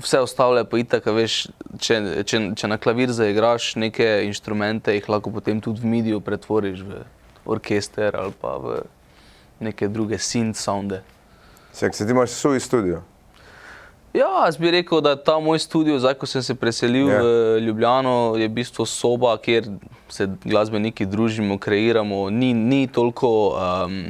Speaker 2: Vse ostale pa itak, a veš, če, če, če na klavir zaigraš neke inštrumente, jih lahko potem tudi v midiju pretvoriš v orkester ali pa v neke druge synth sounde.
Speaker 3: Se, se ti imaš suj studio.
Speaker 2: Ja, jaz bi rekel, da ta moj studio, zdaj ko sem se preselil
Speaker 3: Ja.
Speaker 2: yeah. v Ljubljano, je v bistvu soba, kjer se glasbeniki družimo, kreiramo. Ni, ni toliko. Um,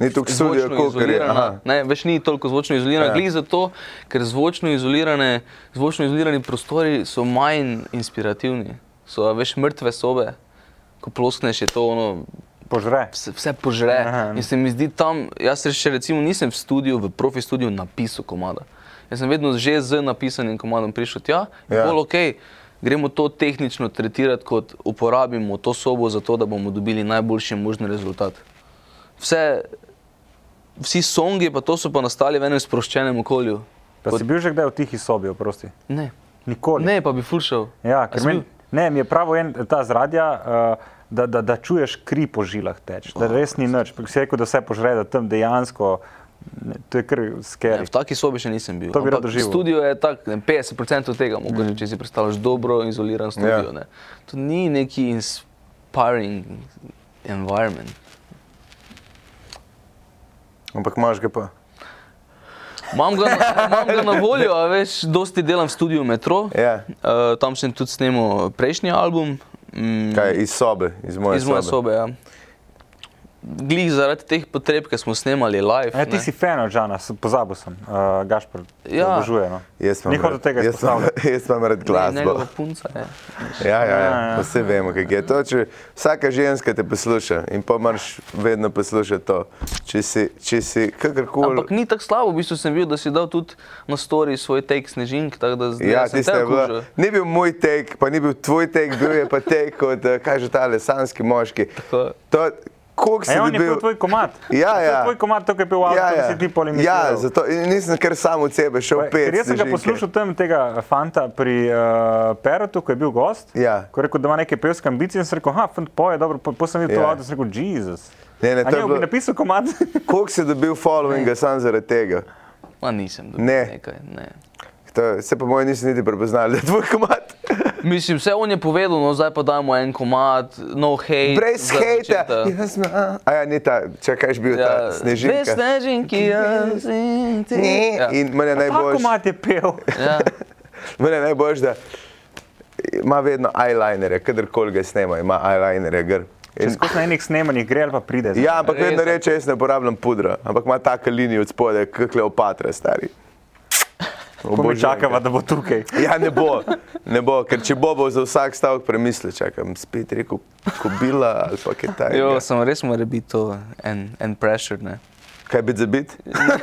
Speaker 3: Ni toliko
Speaker 2: zvočno
Speaker 3: studia, kolikor je.
Speaker 2: izolirana,
Speaker 3: Aha.
Speaker 2: Ne, več ni toliko zvočno izolirana.
Speaker 3: Ja.
Speaker 2: Yeah. Glede zato, ker zvočno, izolirane- zvočno izolirani prostori so manj inspirativni, so a veš mrtve sobe. Ko ploskneš, je to ono,
Speaker 4: požre.
Speaker 2: vse, vse požre.
Speaker 4: Aha. no.
Speaker 2: In se mi zdi tam, jaz res še recimo nisem v studiu, v profi studiu napisal komada. Jaz sem vedno že z napisanim komadom prišel tja in
Speaker 3: Ja.
Speaker 2: ja. bolj ok. Gremo to tehnično tretirati kot uporabimo to sobo, zato da bomo dobili najboljši možni rezultat. Vse, vsi songi pa to so pa nastali v enem sproščenem okolju.
Speaker 4: Pa si bil že kdaj v tihi sobi, oprosti?
Speaker 2: Ne,
Speaker 4: Nikoli.
Speaker 2: ne pa bi fulšal.
Speaker 4: Ja, ker meni, ne, mi je pravo en ta zradja, uh, da, da, da čuješ kri po žilah teč, da res ni nič. Pa Si rekel, da vse požre, da tam dejansko, ne, to je kar
Speaker 2: Ne, Ja,
Speaker 4: skeri.
Speaker 2: v taki sobi še nisem bil.
Speaker 4: To bi rad
Speaker 2: Ampak
Speaker 4: doživel.
Speaker 2: Studio je tak, ne, 50% tega, mogoče, če si predstavljaš dobro izoliran studio.
Speaker 3: Ja.
Speaker 2: ne. To ni neki inspiring environment.
Speaker 3: Ampak imaš ga pa.
Speaker 2: Imam ga, na- imam ga na voljo, a veš, dosti delam v studiu Metro.
Speaker 3: Ja.
Speaker 2: Eh, tam sem tudi snemal prejšnji album. Mm,
Speaker 3: Kaj, iz sobe, iz moje
Speaker 2: iz moje
Speaker 3: sobe.
Speaker 2: sobe. Ja. Glih zaradi teh potreb, ki smo snemali live.
Speaker 4: E, ti
Speaker 2: ne.
Speaker 4: si fan od Žana, s- pozabil sem, uh, Gašpor,
Speaker 2: Ja.
Speaker 4: ja. obožuje. No.
Speaker 3: Jaz
Speaker 4: Ni
Speaker 3: imam
Speaker 4: hotel
Speaker 3: rad-
Speaker 4: tega
Speaker 3: jaz imam-
Speaker 4: izpostavljati.
Speaker 3: Jaz imam rad
Speaker 2: Ne,
Speaker 3: glasbo.
Speaker 2: njegova punca je.
Speaker 3: Ja, ja,
Speaker 4: Ja,
Speaker 3: ja.
Speaker 4: ja.
Speaker 3: pa Vse vemo, kaj je to. Če, vsaka ženska te posluša in pa moraš vedno poslušati to. Če si, če si kakorkoli.
Speaker 2: Ampak ni tako slabo, v bistvu sem videl, da si dal tudi na story svoj tek snežink, tako da zdaj
Speaker 3: Ja,
Speaker 2: sem
Speaker 3: tiste je
Speaker 2: te
Speaker 3: bila-
Speaker 2: okužil.
Speaker 3: Ni bil moj tek, pa ni bil tvoj tek, bil je pa tek kot, eh, kaj že ta lesanski moški.
Speaker 2: Tako.
Speaker 3: To, koliko si
Speaker 4: E, on je
Speaker 3: dobil?
Speaker 4: bil tvoj komat.
Speaker 3: Ja,
Speaker 4: To je
Speaker 3: ja.
Speaker 4: Tvoj komat, to je bil avto, ja, ja. si ti polimiral.
Speaker 3: ja, zato in nisem kar sam od sebe šel pet.
Speaker 4: Ker jaz sem ga
Speaker 3: snežinke.
Speaker 4: poslušal tam tega fanta pri uh, Perotu, ko je bil gost.
Speaker 3: Ja.
Speaker 4: Ko je rekel, da ima neke pevske ambicije in sem rekel, ha, fant poje, dobro, po, po sem videl
Speaker 3: Ja.
Speaker 4: to avto in sem rekel, Jezus.
Speaker 3: Ne, ne,
Speaker 4: A
Speaker 3: to je
Speaker 4: ne, bi
Speaker 3: bilo-
Speaker 4: napisal komat.
Speaker 3: Koliko si dobil followinga sam zaradi tega?
Speaker 2: Ma nisem dobil
Speaker 3: Ne.
Speaker 2: ne. nekaj. Ne.
Speaker 3: To, se po mojem nisi niti prepoznal, da je tvoj komat.
Speaker 2: Mislim, vse on je povedal, no zdaj pa dajmo en komad, no hate.
Speaker 3: Brez
Speaker 2: za
Speaker 3: hejta.
Speaker 2: začetek.
Speaker 3: Jaz sem, a, a ja, ni ta, čakaj, bil ja, ta snežinka.
Speaker 2: Brez snežinki, jaz in ti.
Speaker 3: Ne,
Speaker 2: Ja.
Speaker 3: in meni je
Speaker 4: Ta
Speaker 3: najboljši,
Speaker 4: komat je pel.
Speaker 2: Ja.
Speaker 3: meni je najboljš, da ima vedno eyelinerje, kadarkoli ga snema, ima eyelinerje. gor. In,
Speaker 4: Če skozi na enih snemanjih gre ali pa pride.
Speaker 3: ja, ampak
Speaker 2: Res,
Speaker 3: vedno
Speaker 2: ja.
Speaker 3: reče, jaz ne uporabljam pudra, ampak ima tako linijo od spodaj, kot Kleopatra, stari.
Speaker 4: Ko mi
Speaker 3: Obožujem ga.
Speaker 4: čakava, da bo tukaj.
Speaker 3: Ja, ne bo, ne bo, ker če bo, bo za vsak stavek premislil, čakam, spet rekel, kobila ali pa kaj
Speaker 2: Jo,
Speaker 3: takega.
Speaker 2: sem res mora biti to en, en pressure, ne.
Speaker 3: Kaj bi za bit?
Speaker 2: Ki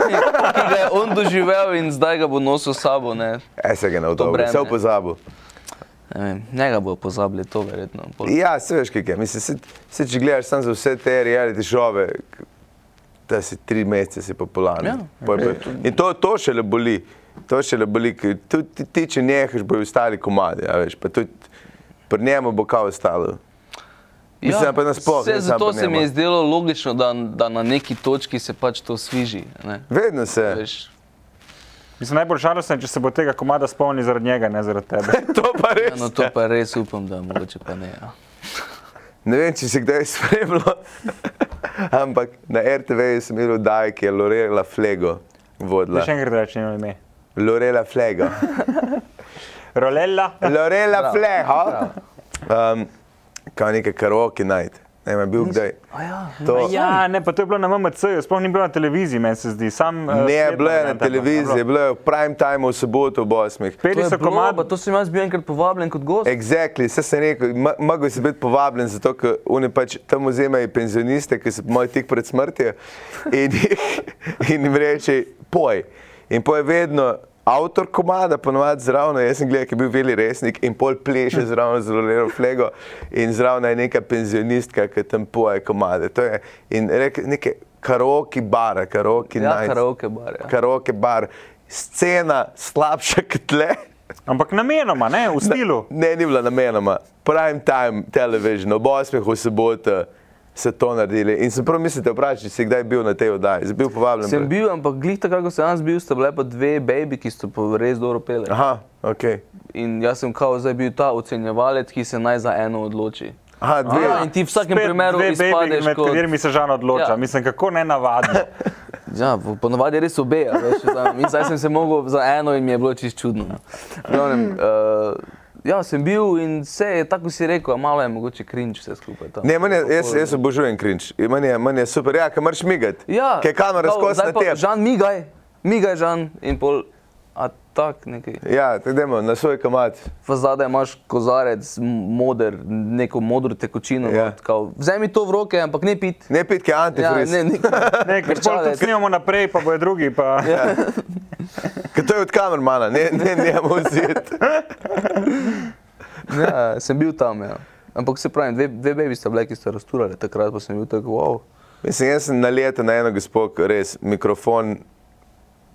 Speaker 2: ga je on doživel in zdaj ga bo nosil s sabo, ne.
Speaker 3: E, se ga ne odobri,
Speaker 2: breme.
Speaker 3: se pozabil.
Speaker 2: ne vem, njega bo pozabili to verjetno. Pol-
Speaker 3: Ja, se veš, kaj je. Mislim, se, se če gledaš samo za vse te reality šove, k- da si tri mesece si popularen.
Speaker 2: Ja,
Speaker 3: Pol pa- In to, to še le boli. To še le boli, ker tudi ti, ti če nehaš, bojo ostali komadi, a veš, pa tudi pri njemu bo kao ostalo. Mislim, pa nasploh, ne samo
Speaker 2: vse Ja, zato
Speaker 3: pri
Speaker 2: se mi
Speaker 3: njemu.
Speaker 2: je zdelo logično, da, da na neki točki se pač to sviži. Ne?
Speaker 3: Vedno se.
Speaker 2: Veš,
Speaker 4: Mislim, najbolj žalostno je, če se bo tega komada spomnil zaradi njega, ne zaradi tebe.
Speaker 3: to pa res.
Speaker 2: ja, no, to pa res upam, da mogoče pa ne. Ja.
Speaker 3: Ne vem, če si kdaj spremljal, ampak na RTV sem imel oddajo, ki je Lorela Flego vodila.
Speaker 4: Še enkrat rečem ime.
Speaker 3: Lorela Flego.
Speaker 4: Rolella.
Speaker 3: Lorela Fleha, um, kao neke karaoke night. Ne vem, je bil kdaj.
Speaker 2: Ja.
Speaker 3: To,
Speaker 4: Ja, ne, pa to je bilo na MMC, sploh ni bilo na televiziji, meni se zdi. Sam, eh,
Speaker 3: ne je bilo je na televiziji, je bilo je v prime timeu v soboto ob 8.
Speaker 2: To,
Speaker 4: Peli
Speaker 2: je
Speaker 4: so
Speaker 2: bilo,
Speaker 4: komad,
Speaker 2: pa to sem jaz bil enkrat povabljen kot gost.
Speaker 3: Exactly, vse sem rekel, mogo si biti povabljen, zato ker oni pač tam vzemajo penzioniste, ki so moj tik pred smrtjo in, jih- in jim reče, poj. In poj vedno avtor komada, ponovadi zraven, jaz sem gledal, ki je bil veli resnik in pol pleše zraven z rolero flego in zraven je neka penzionistka, ki tam poje komade. To je in reke, neke karoki bara, karoki
Speaker 2: Ja,
Speaker 3: nights,
Speaker 2: karaoke bar, ja.
Speaker 3: Karaoke bar. Scena slabša kot tle.
Speaker 4: ampak namenoma, ne, v stilu.
Speaker 3: Ne, ni bila namenoma. Prime time television, ob 8. v soboto se to naredili. In sem prav mislil, da vprašaj, če si kdaj bil na tej oddaji. Si bil povabljen.
Speaker 2: Sem
Speaker 3: prej?
Speaker 2: bil, ampak glih tako, kako sem jaz bil, sta bile pa dve baby, ki sta pa res dobro pele.
Speaker 3: Aha, ok.
Speaker 2: In jaz sem kao zdaj bil ta ocenjevalec, ki se naj za eno odloči.
Speaker 3: Aha, dve.
Speaker 2: Ja, in ti v vsakem
Speaker 4: Spet
Speaker 2: primeru
Speaker 4: dve baby,
Speaker 2: izpadeš
Speaker 4: Med
Speaker 2: kot-
Speaker 4: katerimi se žan odloča,
Speaker 2: Ja.
Speaker 4: ja. mislim, kako ne navadno.
Speaker 2: Ja, v- ponavadi res obe, a veš, zdaj, in zdaj sem se mogel za eno in mi je bilo čist čudno. no. V Glavnem,
Speaker 3: Hmm.
Speaker 2: uh, ja, sem bil in vse je tako si rekel, a malo je mogoče krinč vse skupaj. tam.
Speaker 3: Ne, meni je, jaz, jaz obožujem cringe. In Meni je, meni je super, ja, ker moraš migati.
Speaker 2: ja,
Speaker 3: Ker kamera
Speaker 2: kao,
Speaker 3: skozi
Speaker 2: zdaj
Speaker 3: na
Speaker 2: pa
Speaker 3: tebi.
Speaker 2: Žan, migaj, migaj, Žan in pol, a tak nekaj.
Speaker 3: Ja, tako dajmo, na svoj kamat.
Speaker 2: Pa zadaj imaš kozarec, m- moder, neko modro tekočino.
Speaker 3: Ja.
Speaker 2: Ja. Kao, vzemi to v roke, ampak ne pit.
Speaker 3: Ne pitke
Speaker 2: Ja,
Speaker 3: antifriz.
Speaker 2: ne, ne,
Speaker 4: Ne, ker pol tudi snimamo naprej, pa bojo drugi. Pa... Ja.
Speaker 3: Ker to je od kamermana, ne, ne, ne, muzit.
Speaker 2: ja, sem bil tam. Ja. Ampak se pravi, dve, dve baby sta bile, ki sta rasturali, takrat pa sem bil tako, wow.
Speaker 3: Mislim, jaz sem naleten na eno gospo, ki res mikrofon.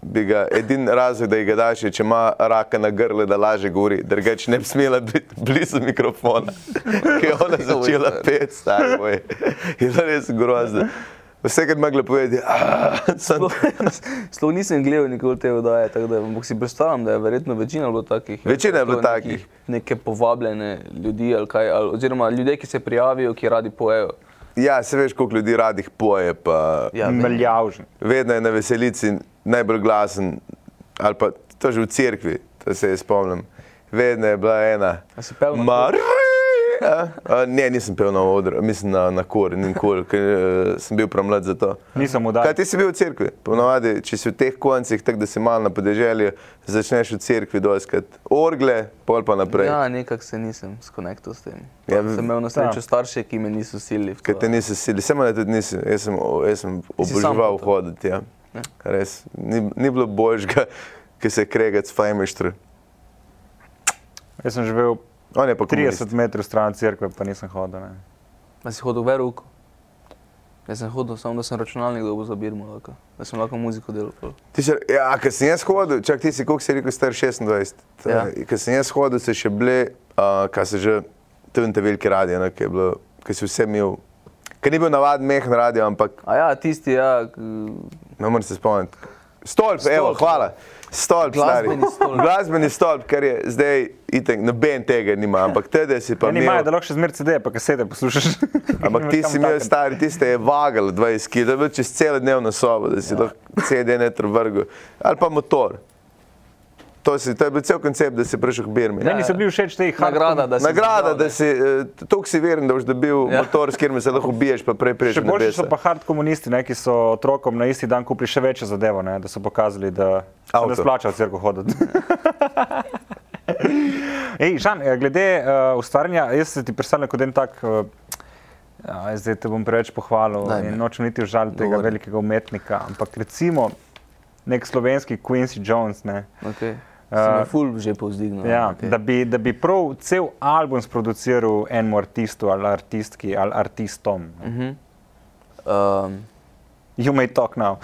Speaker 3: bi Ga, edin razlog, da ji ga daš, je, če ima raka na grlu, da laže gori, drugače ne bi smela biti blizu mikrofona, ki je ona začela peti, stari moj. Je to res grozno. Vse, kar mogla povedati, "Ah, sem
Speaker 2: Slovo nisem gledal nikoli te vdaje, tako da ampak si predstavljam, da je verjetno večina bilo takih.
Speaker 3: Večina je bilo
Speaker 2: Tako
Speaker 3: takih.
Speaker 2: nekih- Neke povabljene ljudi, ali kaj, ali, oziroma ljudje, ki se prijavijo, ki radi pojejo.
Speaker 3: Ja, se veš, koliko ljudi radih poje, pa
Speaker 2: Ja, vem.
Speaker 4: Mljavžen.
Speaker 3: vedno je na veselici najbolj glasen, ali pa to že v cerkvi, to se jaz spomnim. Vedno je bila ena.
Speaker 2: A si pel na
Speaker 3: Mar- A? A, ne, nisem pel na odru, mislim na, na kor, ni nikoli, ker eh, sem bil premlad za to.
Speaker 4: Nisem udal.
Speaker 3: Kaj ti si bil v cerkvi? Ponovadi, če si v teh koncih, tako da si malo na podeželju, začneš v cerkvi doskrat orgle, pol pa naprej.
Speaker 2: Ja, nekako se nisem skonektal s tem.
Speaker 3: Ja,
Speaker 2: Ja,
Speaker 3: v-
Speaker 2: sem imel na
Speaker 4: Ja.
Speaker 2: srečo starše, ki me niso silili. v to.
Speaker 3: Ker te nisi sili, se mene tudi nisi, jaz sem, o- jaz sem
Speaker 2: Torej. si sam
Speaker 3: oboževal
Speaker 2: hotel.
Speaker 3: hoditi. Ja. Res, ni, ni bilo božga, ki se krega s fajmištri.
Speaker 4: Jaz sem živel
Speaker 3: On je pa
Speaker 4: 30
Speaker 3: komunist.
Speaker 4: metrov stran od cerkve, pa nisem hodil. Ne.
Speaker 2: Da si hodil v roko. Jaz sem hodil, samo da sem računalnik dobil za Birmo, lahko. da sem lahko muziko delal. pol.
Speaker 3: Ti si, ja, ker sem jaz hodil, čak ti si, koliko si rekel, star 26.
Speaker 2: Ja.
Speaker 3: Ja. Ker sem jaz hodil, se še bile, uh, kaj se že, to je en te veliki radio, ne, ki je bilo, ki si vse imel. Ker ni bil navaden mehen radio, ampak
Speaker 2: A ja, tisti, ja, k-
Speaker 3: ne morem se spomniti. Stolp, stolp, evo,
Speaker 2: Stolp.
Speaker 3: hvala. Stolp, stari.
Speaker 2: Glasbeni stolp.
Speaker 3: Glasbeni stolp, ker je zdaj itek, noben tega nima, ampak tede si pa
Speaker 4: Ja,
Speaker 3: imel.
Speaker 4: nimajo, da lahko še zmeraj CD, pa kasete poslušaš.
Speaker 3: Ampak ti si imel stari, tiste je vagal 20 kg, da je bil čez celo dnevno sobo, da
Speaker 2: Ja.
Speaker 3: si lahko CD netr vrgel. Ali pa motor. To, si, to je bil cel koncept, da si prišel k Birmi.
Speaker 4: Meni so bili všeč te
Speaker 2: Ja. nagrada, da si
Speaker 3: Nagrada, da
Speaker 2: zbral, ne.
Speaker 3: si, eh, toliko si veren, da boš dobil ja.
Speaker 2: Ja.
Speaker 3: motor, s katerim se lahko biješ, pa prej prej
Speaker 4: Še boljši so pa hard komunisti, ne, ki so otrokom na isti dan kupili še večjo zadevo, ne, da so pokazali, da se
Speaker 3: Avto.
Speaker 4: ne splača v cerkev hoditi. Ej, Žan, eh, glede uh, ustvarjanja, jaz se ti predstavljam kot en tak, uh, zdaj te bom preveč pohvalil
Speaker 2: Daj mi.
Speaker 4: in nočem niti užaliti
Speaker 2: Govori.
Speaker 4: tega velikega umetnika, ampak recimo nek slovenski Quincy Jones, ne,
Speaker 2: okay. sem
Speaker 4: Eh,
Speaker 2: uh, ful že povzdignil.
Speaker 4: ja,
Speaker 2: ampak,
Speaker 4: okay. da, bi, da bi prav cel album sproduciral enemu artistu ali artistki ali artistom.
Speaker 2: Mhm.
Speaker 4: Mm.
Speaker 2: Um,
Speaker 4: You may talk now,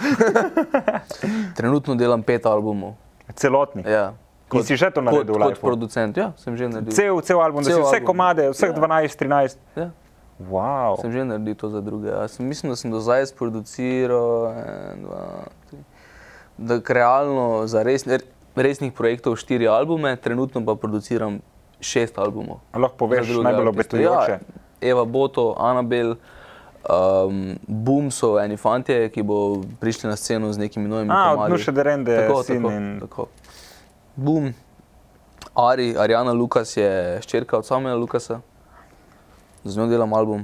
Speaker 2: trenutno delam pet albumov.
Speaker 4: celotni.
Speaker 2: Ja.
Speaker 4: In si že to naredil v
Speaker 2: kot, kot
Speaker 4: lifeu?
Speaker 2: producent? Ja, sem že naredil.
Speaker 4: Cel, cel album, cel da
Speaker 2: Cel
Speaker 4: si vse
Speaker 2: album.
Speaker 4: komade, vseh
Speaker 2: Ja.
Speaker 4: 12, 13.
Speaker 2: Ja,
Speaker 4: Wow.
Speaker 2: sem že naredil to za druge. Ja, sem, mislim, da sem do zdaj sproduciral. en, dva, tri. Da realno za res, resnih projektov štiri albume, trenutno pa produciram šest albumov.
Speaker 4: A Lahko poveš
Speaker 2: Za druge
Speaker 4: najbolj
Speaker 2: artiste.
Speaker 4: obetujoče.
Speaker 2: Ja, Eva Boto, Anabel, um, Boom so eni fantje, ki bo prišli na sceno z nekimi novimi
Speaker 4: A, od
Speaker 2: komadi.
Speaker 4: Nuše Derende,
Speaker 2: tako,
Speaker 4: sin
Speaker 2: tako,
Speaker 4: in-
Speaker 2: tako. Boom. Ari, Arijana Lukas je ščerka od samega Lukasa, z njo delam album.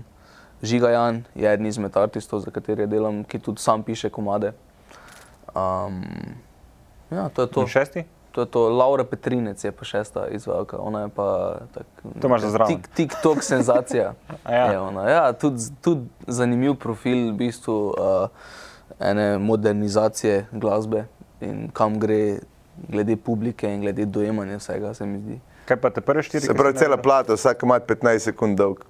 Speaker 2: Žiga Jan je eden izmed aristotelov, za katere delam, ki tudi sam piše komade. Um, ja, to je to.
Speaker 4: In šesti?
Speaker 2: To je to, Laura Petrinec je pa šesta izvajalka, ona je pa tako.
Speaker 4: To imaš za zraven.
Speaker 2: Tik- TikTok senzacija.
Speaker 4: A ja.
Speaker 2: je ona. ja, tudi, tudi zanimiv profil v bistvu uh, ene modernizacije glasbe in kam gre, glede publike in glede dojemanja vsega, se mi zdi.
Speaker 4: Kaj pa te prve štiri?
Speaker 3: Se
Speaker 4: ki
Speaker 3: pravi,
Speaker 4: si
Speaker 3: cela
Speaker 4: naredil?
Speaker 3: plata, vsak ima 15 sekund dolg.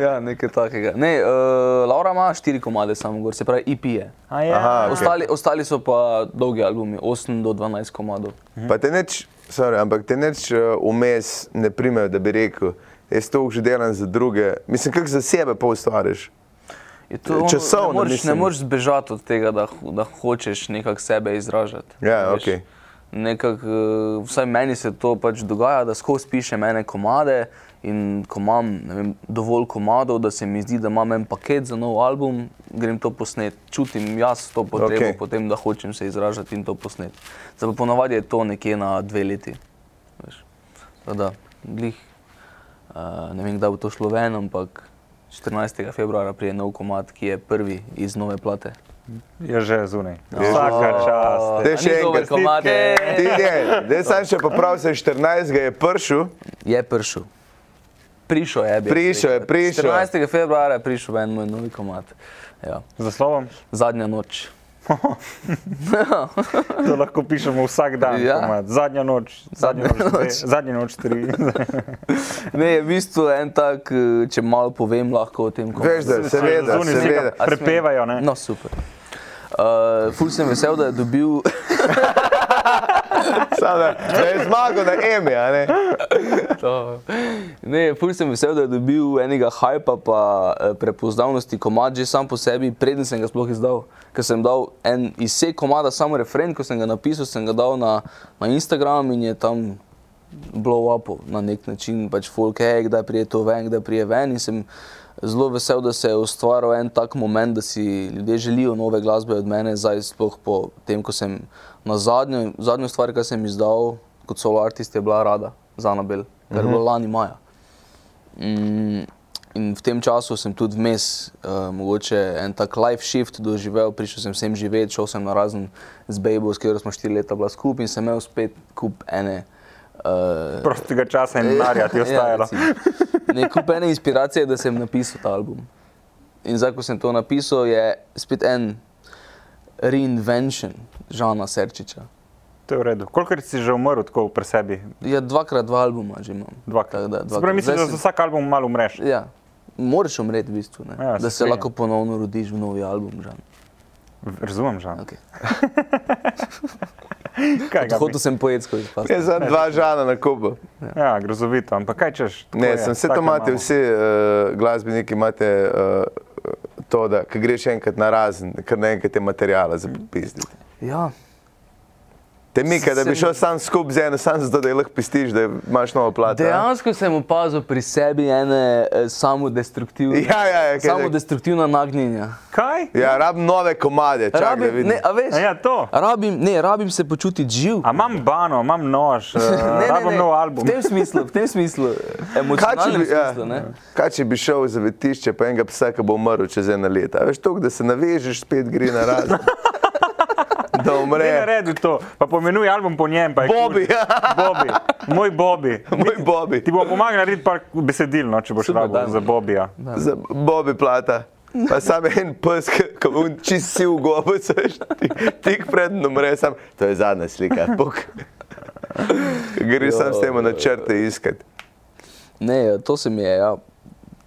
Speaker 2: ja, nekaj takega. Ne, uh, Laura ima štiri komade samo gor, se pravi IP je.
Speaker 4: A ja.
Speaker 3: Aha,
Speaker 2: Okay.
Speaker 3: ok.
Speaker 2: Ostali, ostali so pa dolgi albumi, 8 do 12 komadov.
Speaker 3: Pa te neč, sorry, ampak te neč eh, vmes ne primejo, da bi rekel, jaz to že delam za druge. Mislim, kako za sebe pa ustvariš.
Speaker 2: Je to ono,
Speaker 3: E, Časovno,
Speaker 2: ne moreš, ne
Speaker 3: mislim.
Speaker 2: moreš zbežati od tega, da, ho- da hočeš nekako sebe izražati.
Speaker 3: Ja,
Speaker 2: Veš,
Speaker 3: okej.
Speaker 2: Nekak, eh, vsaj meni se to pač dogaja, da skozi pišem ene komade in ko imam ne vem, dovolj komadov, da se mi zdi, da imam en paket za nov album, grem to posnet. Čutim jaz to potrebo,
Speaker 3: Okej.
Speaker 2: okay. potem, da hočem se izražati in to posnet. Zdaj pa ponavadi je to nekje na dve leti. veš. Tako Da, glih, Uh, ne vem, kdaj bo to šlo ven, ampak 14. februarja prije nov komat, ki je prvi iz nove plate.
Speaker 4: Je že zunaj.
Speaker 3: že
Speaker 4: Vsaka čast.
Speaker 2: A
Speaker 3: Daj
Speaker 2: ni
Speaker 3: še
Speaker 2: dober
Speaker 3: enkrat,
Speaker 2: komat, ej.
Speaker 3: Ti ne, zdaj sam še popravi, se 14 ga je pršil,
Speaker 2: Je prišel. Prišel je. bi jaz
Speaker 3: Prišel je,
Speaker 2: rekel.
Speaker 3: prišel.
Speaker 2: 14. februarja je prišel ven moj novi komat. Ja.
Speaker 4: Z naslovom,
Speaker 2: Zadnja noč.
Speaker 4: to lahko pišemo vsak dan.
Speaker 2: Ja.
Speaker 4: Ja. Zadnja noč, zadnja noč, dve, zadnja noč tri.
Speaker 2: Ne, je v bistvu en tak, eh, če malo povem, lahko o tem komatu.
Speaker 3: veš, da seveda,
Speaker 4: Zunaj
Speaker 3: seveda.
Speaker 4: slika. Prepevajo, ne?
Speaker 2: No, super. Uh, ful sem vesel, da je dobil
Speaker 3: Samo da, da je zmagal na Emi, a ne?
Speaker 2: To. Ne, ful sem vesel, da je dobil enega hajpa, pa eh, prepoznavnosti komad že sam po sebi, preden sem ga sploh izdal. Ker sem dal en izsek komada, samo refren, ko sem ga napisal, sem ga dal na, na Instagram in je tam blow up na nek način, pač folk, hej, kdaj prije to ven, kdaj prije ven. In sem zelo vesel, da se je ustvaril en tak moment, da si ljudje želijo nove glasbe od mene, zdaj sploh po tem, ko sem na zadnjo, zadnjo stvar, ki sem izdal kot solo artist, je bila Rada za Anabel, kar je
Speaker 4: Mhm.
Speaker 2: bilo lani maja. Mm, In v tem času sem tudi vmes, uh, mogoče en tak life shift doživel, prišel sem sem živeti, šel sem na razen z Bejbo, s katero smo štiri leta bila skupaj in sem imel spet kup ene. Uh,
Speaker 4: Prostega časa in denarja
Speaker 2: ja,
Speaker 4: ti je ostajalo.
Speaker 2: ne, kup ene inspiracije, da sem napisal ta album. In zdaj, ko sem to napisal, je spet en reinvention Žana Serčiča.
Speaker 4: To je v redu. Kolikor si že umrl tako pri sebi?
Speaker 2: Ja, dvakrat dva albuma že imam. Tako
Speaker 4: Dvakrat.
Speaker 2: Da,
Speaker 4: Se pravi, mislim,
Speaker 2: Zdaj
Speaker 4: da
Speaker 2: sem-
Speaker 4: za vsak album malo umreš.
Speaker 2: Ja, moraš umreti, v bistvu, ne,
Speaker 4: Ja,
Speaker 2: ja,
Speaker 4: se
Speaker 2: da se
Speaker 4: strinjam.
Speaker 2: lahko ponovno rodiš v novi album. Žan.
Speaker 4: Razumem, že.
Speaker 2: Okay.
Speaker 4: Kaj ga bi?
Speaker 2: Hotel sem pojet skozi pas.
Speaker 3: Jaz sem dva žana na kubu.
Speaker 4: Ja, grozovito, ampak kaj češ? tako
Speaker 3: Ne,
Speaker 4: je,
Speaker 3: sem vse
Speaker 4: take
Speaker 3: to imate,
Speaker 4: imamo.
Speaker 3: vsi uh, glasbeniki imate uh, to, da ko greš enkrat na razen, ker naenkrat je materijala za pizditi.
Speaker 2: Ja,
Speaker 3: Te mika, da bi
Speaker 2: Sem-
Speaker 3: šel sam skupaj z eno, sam zato, da je lahko pistiš, da imaš novo plato. a?
Speaker 2: Ja. dejansko sem opazil pri sebi ene eh, samodestruktivne,
Speaker 3: Ja, ja, ja, kaj-
Speaker 2: samodestruktivna nagnjenja.
Speaker 4: Kaj?
Speaker 3: Ja, rabim nove komade, čak, da
Speaker 2: Rabim,
Speaker 3: vidim.
Speaker 2: ne, a veš,
Speaker 4: A ja, to.
Speaker 2: rabim, ne, rabim se počutiti živ.
Speaker 4: A imam bano, imam nož, eh, rabim nov album.
Speaker 2: V tem smislu, v tem smislu, emocionalnem
Speaker 3: ja,
Speaker 2: smislu. ne.
Speaker 3: kaj če bi šel v zavetišče, pa enega psa, ki bo umrl čez eno leto? A Veš, to, da se navežeš, spet gre na razen. da
Speaker 4: Ne
Speaker 3: umre.
Speaker 4: naredi to, pa pomenuj album po njem. pa je
Speaker 3: Bobby.
Speaker 4: kul. Bobby, moj Bobby.
Speaker 3: Moj Bobi.
Speaker 4: Ti bo pomagal narediti par besedil, no, če boš
Speaker 2: Super,
Speaker 4: rabil
Speaker 2: dajmo.
Speaker 4: za Bobija.
Speaker 3: Za Bobi plata. Pa sam en pes, ki mu čist si v gobo, seš, tik, tik pred njim umre, sam. To je zadnja slika, puk. Gre sam s tem na črte iskati.
Speaker 2: Ne, to se mi je, ja.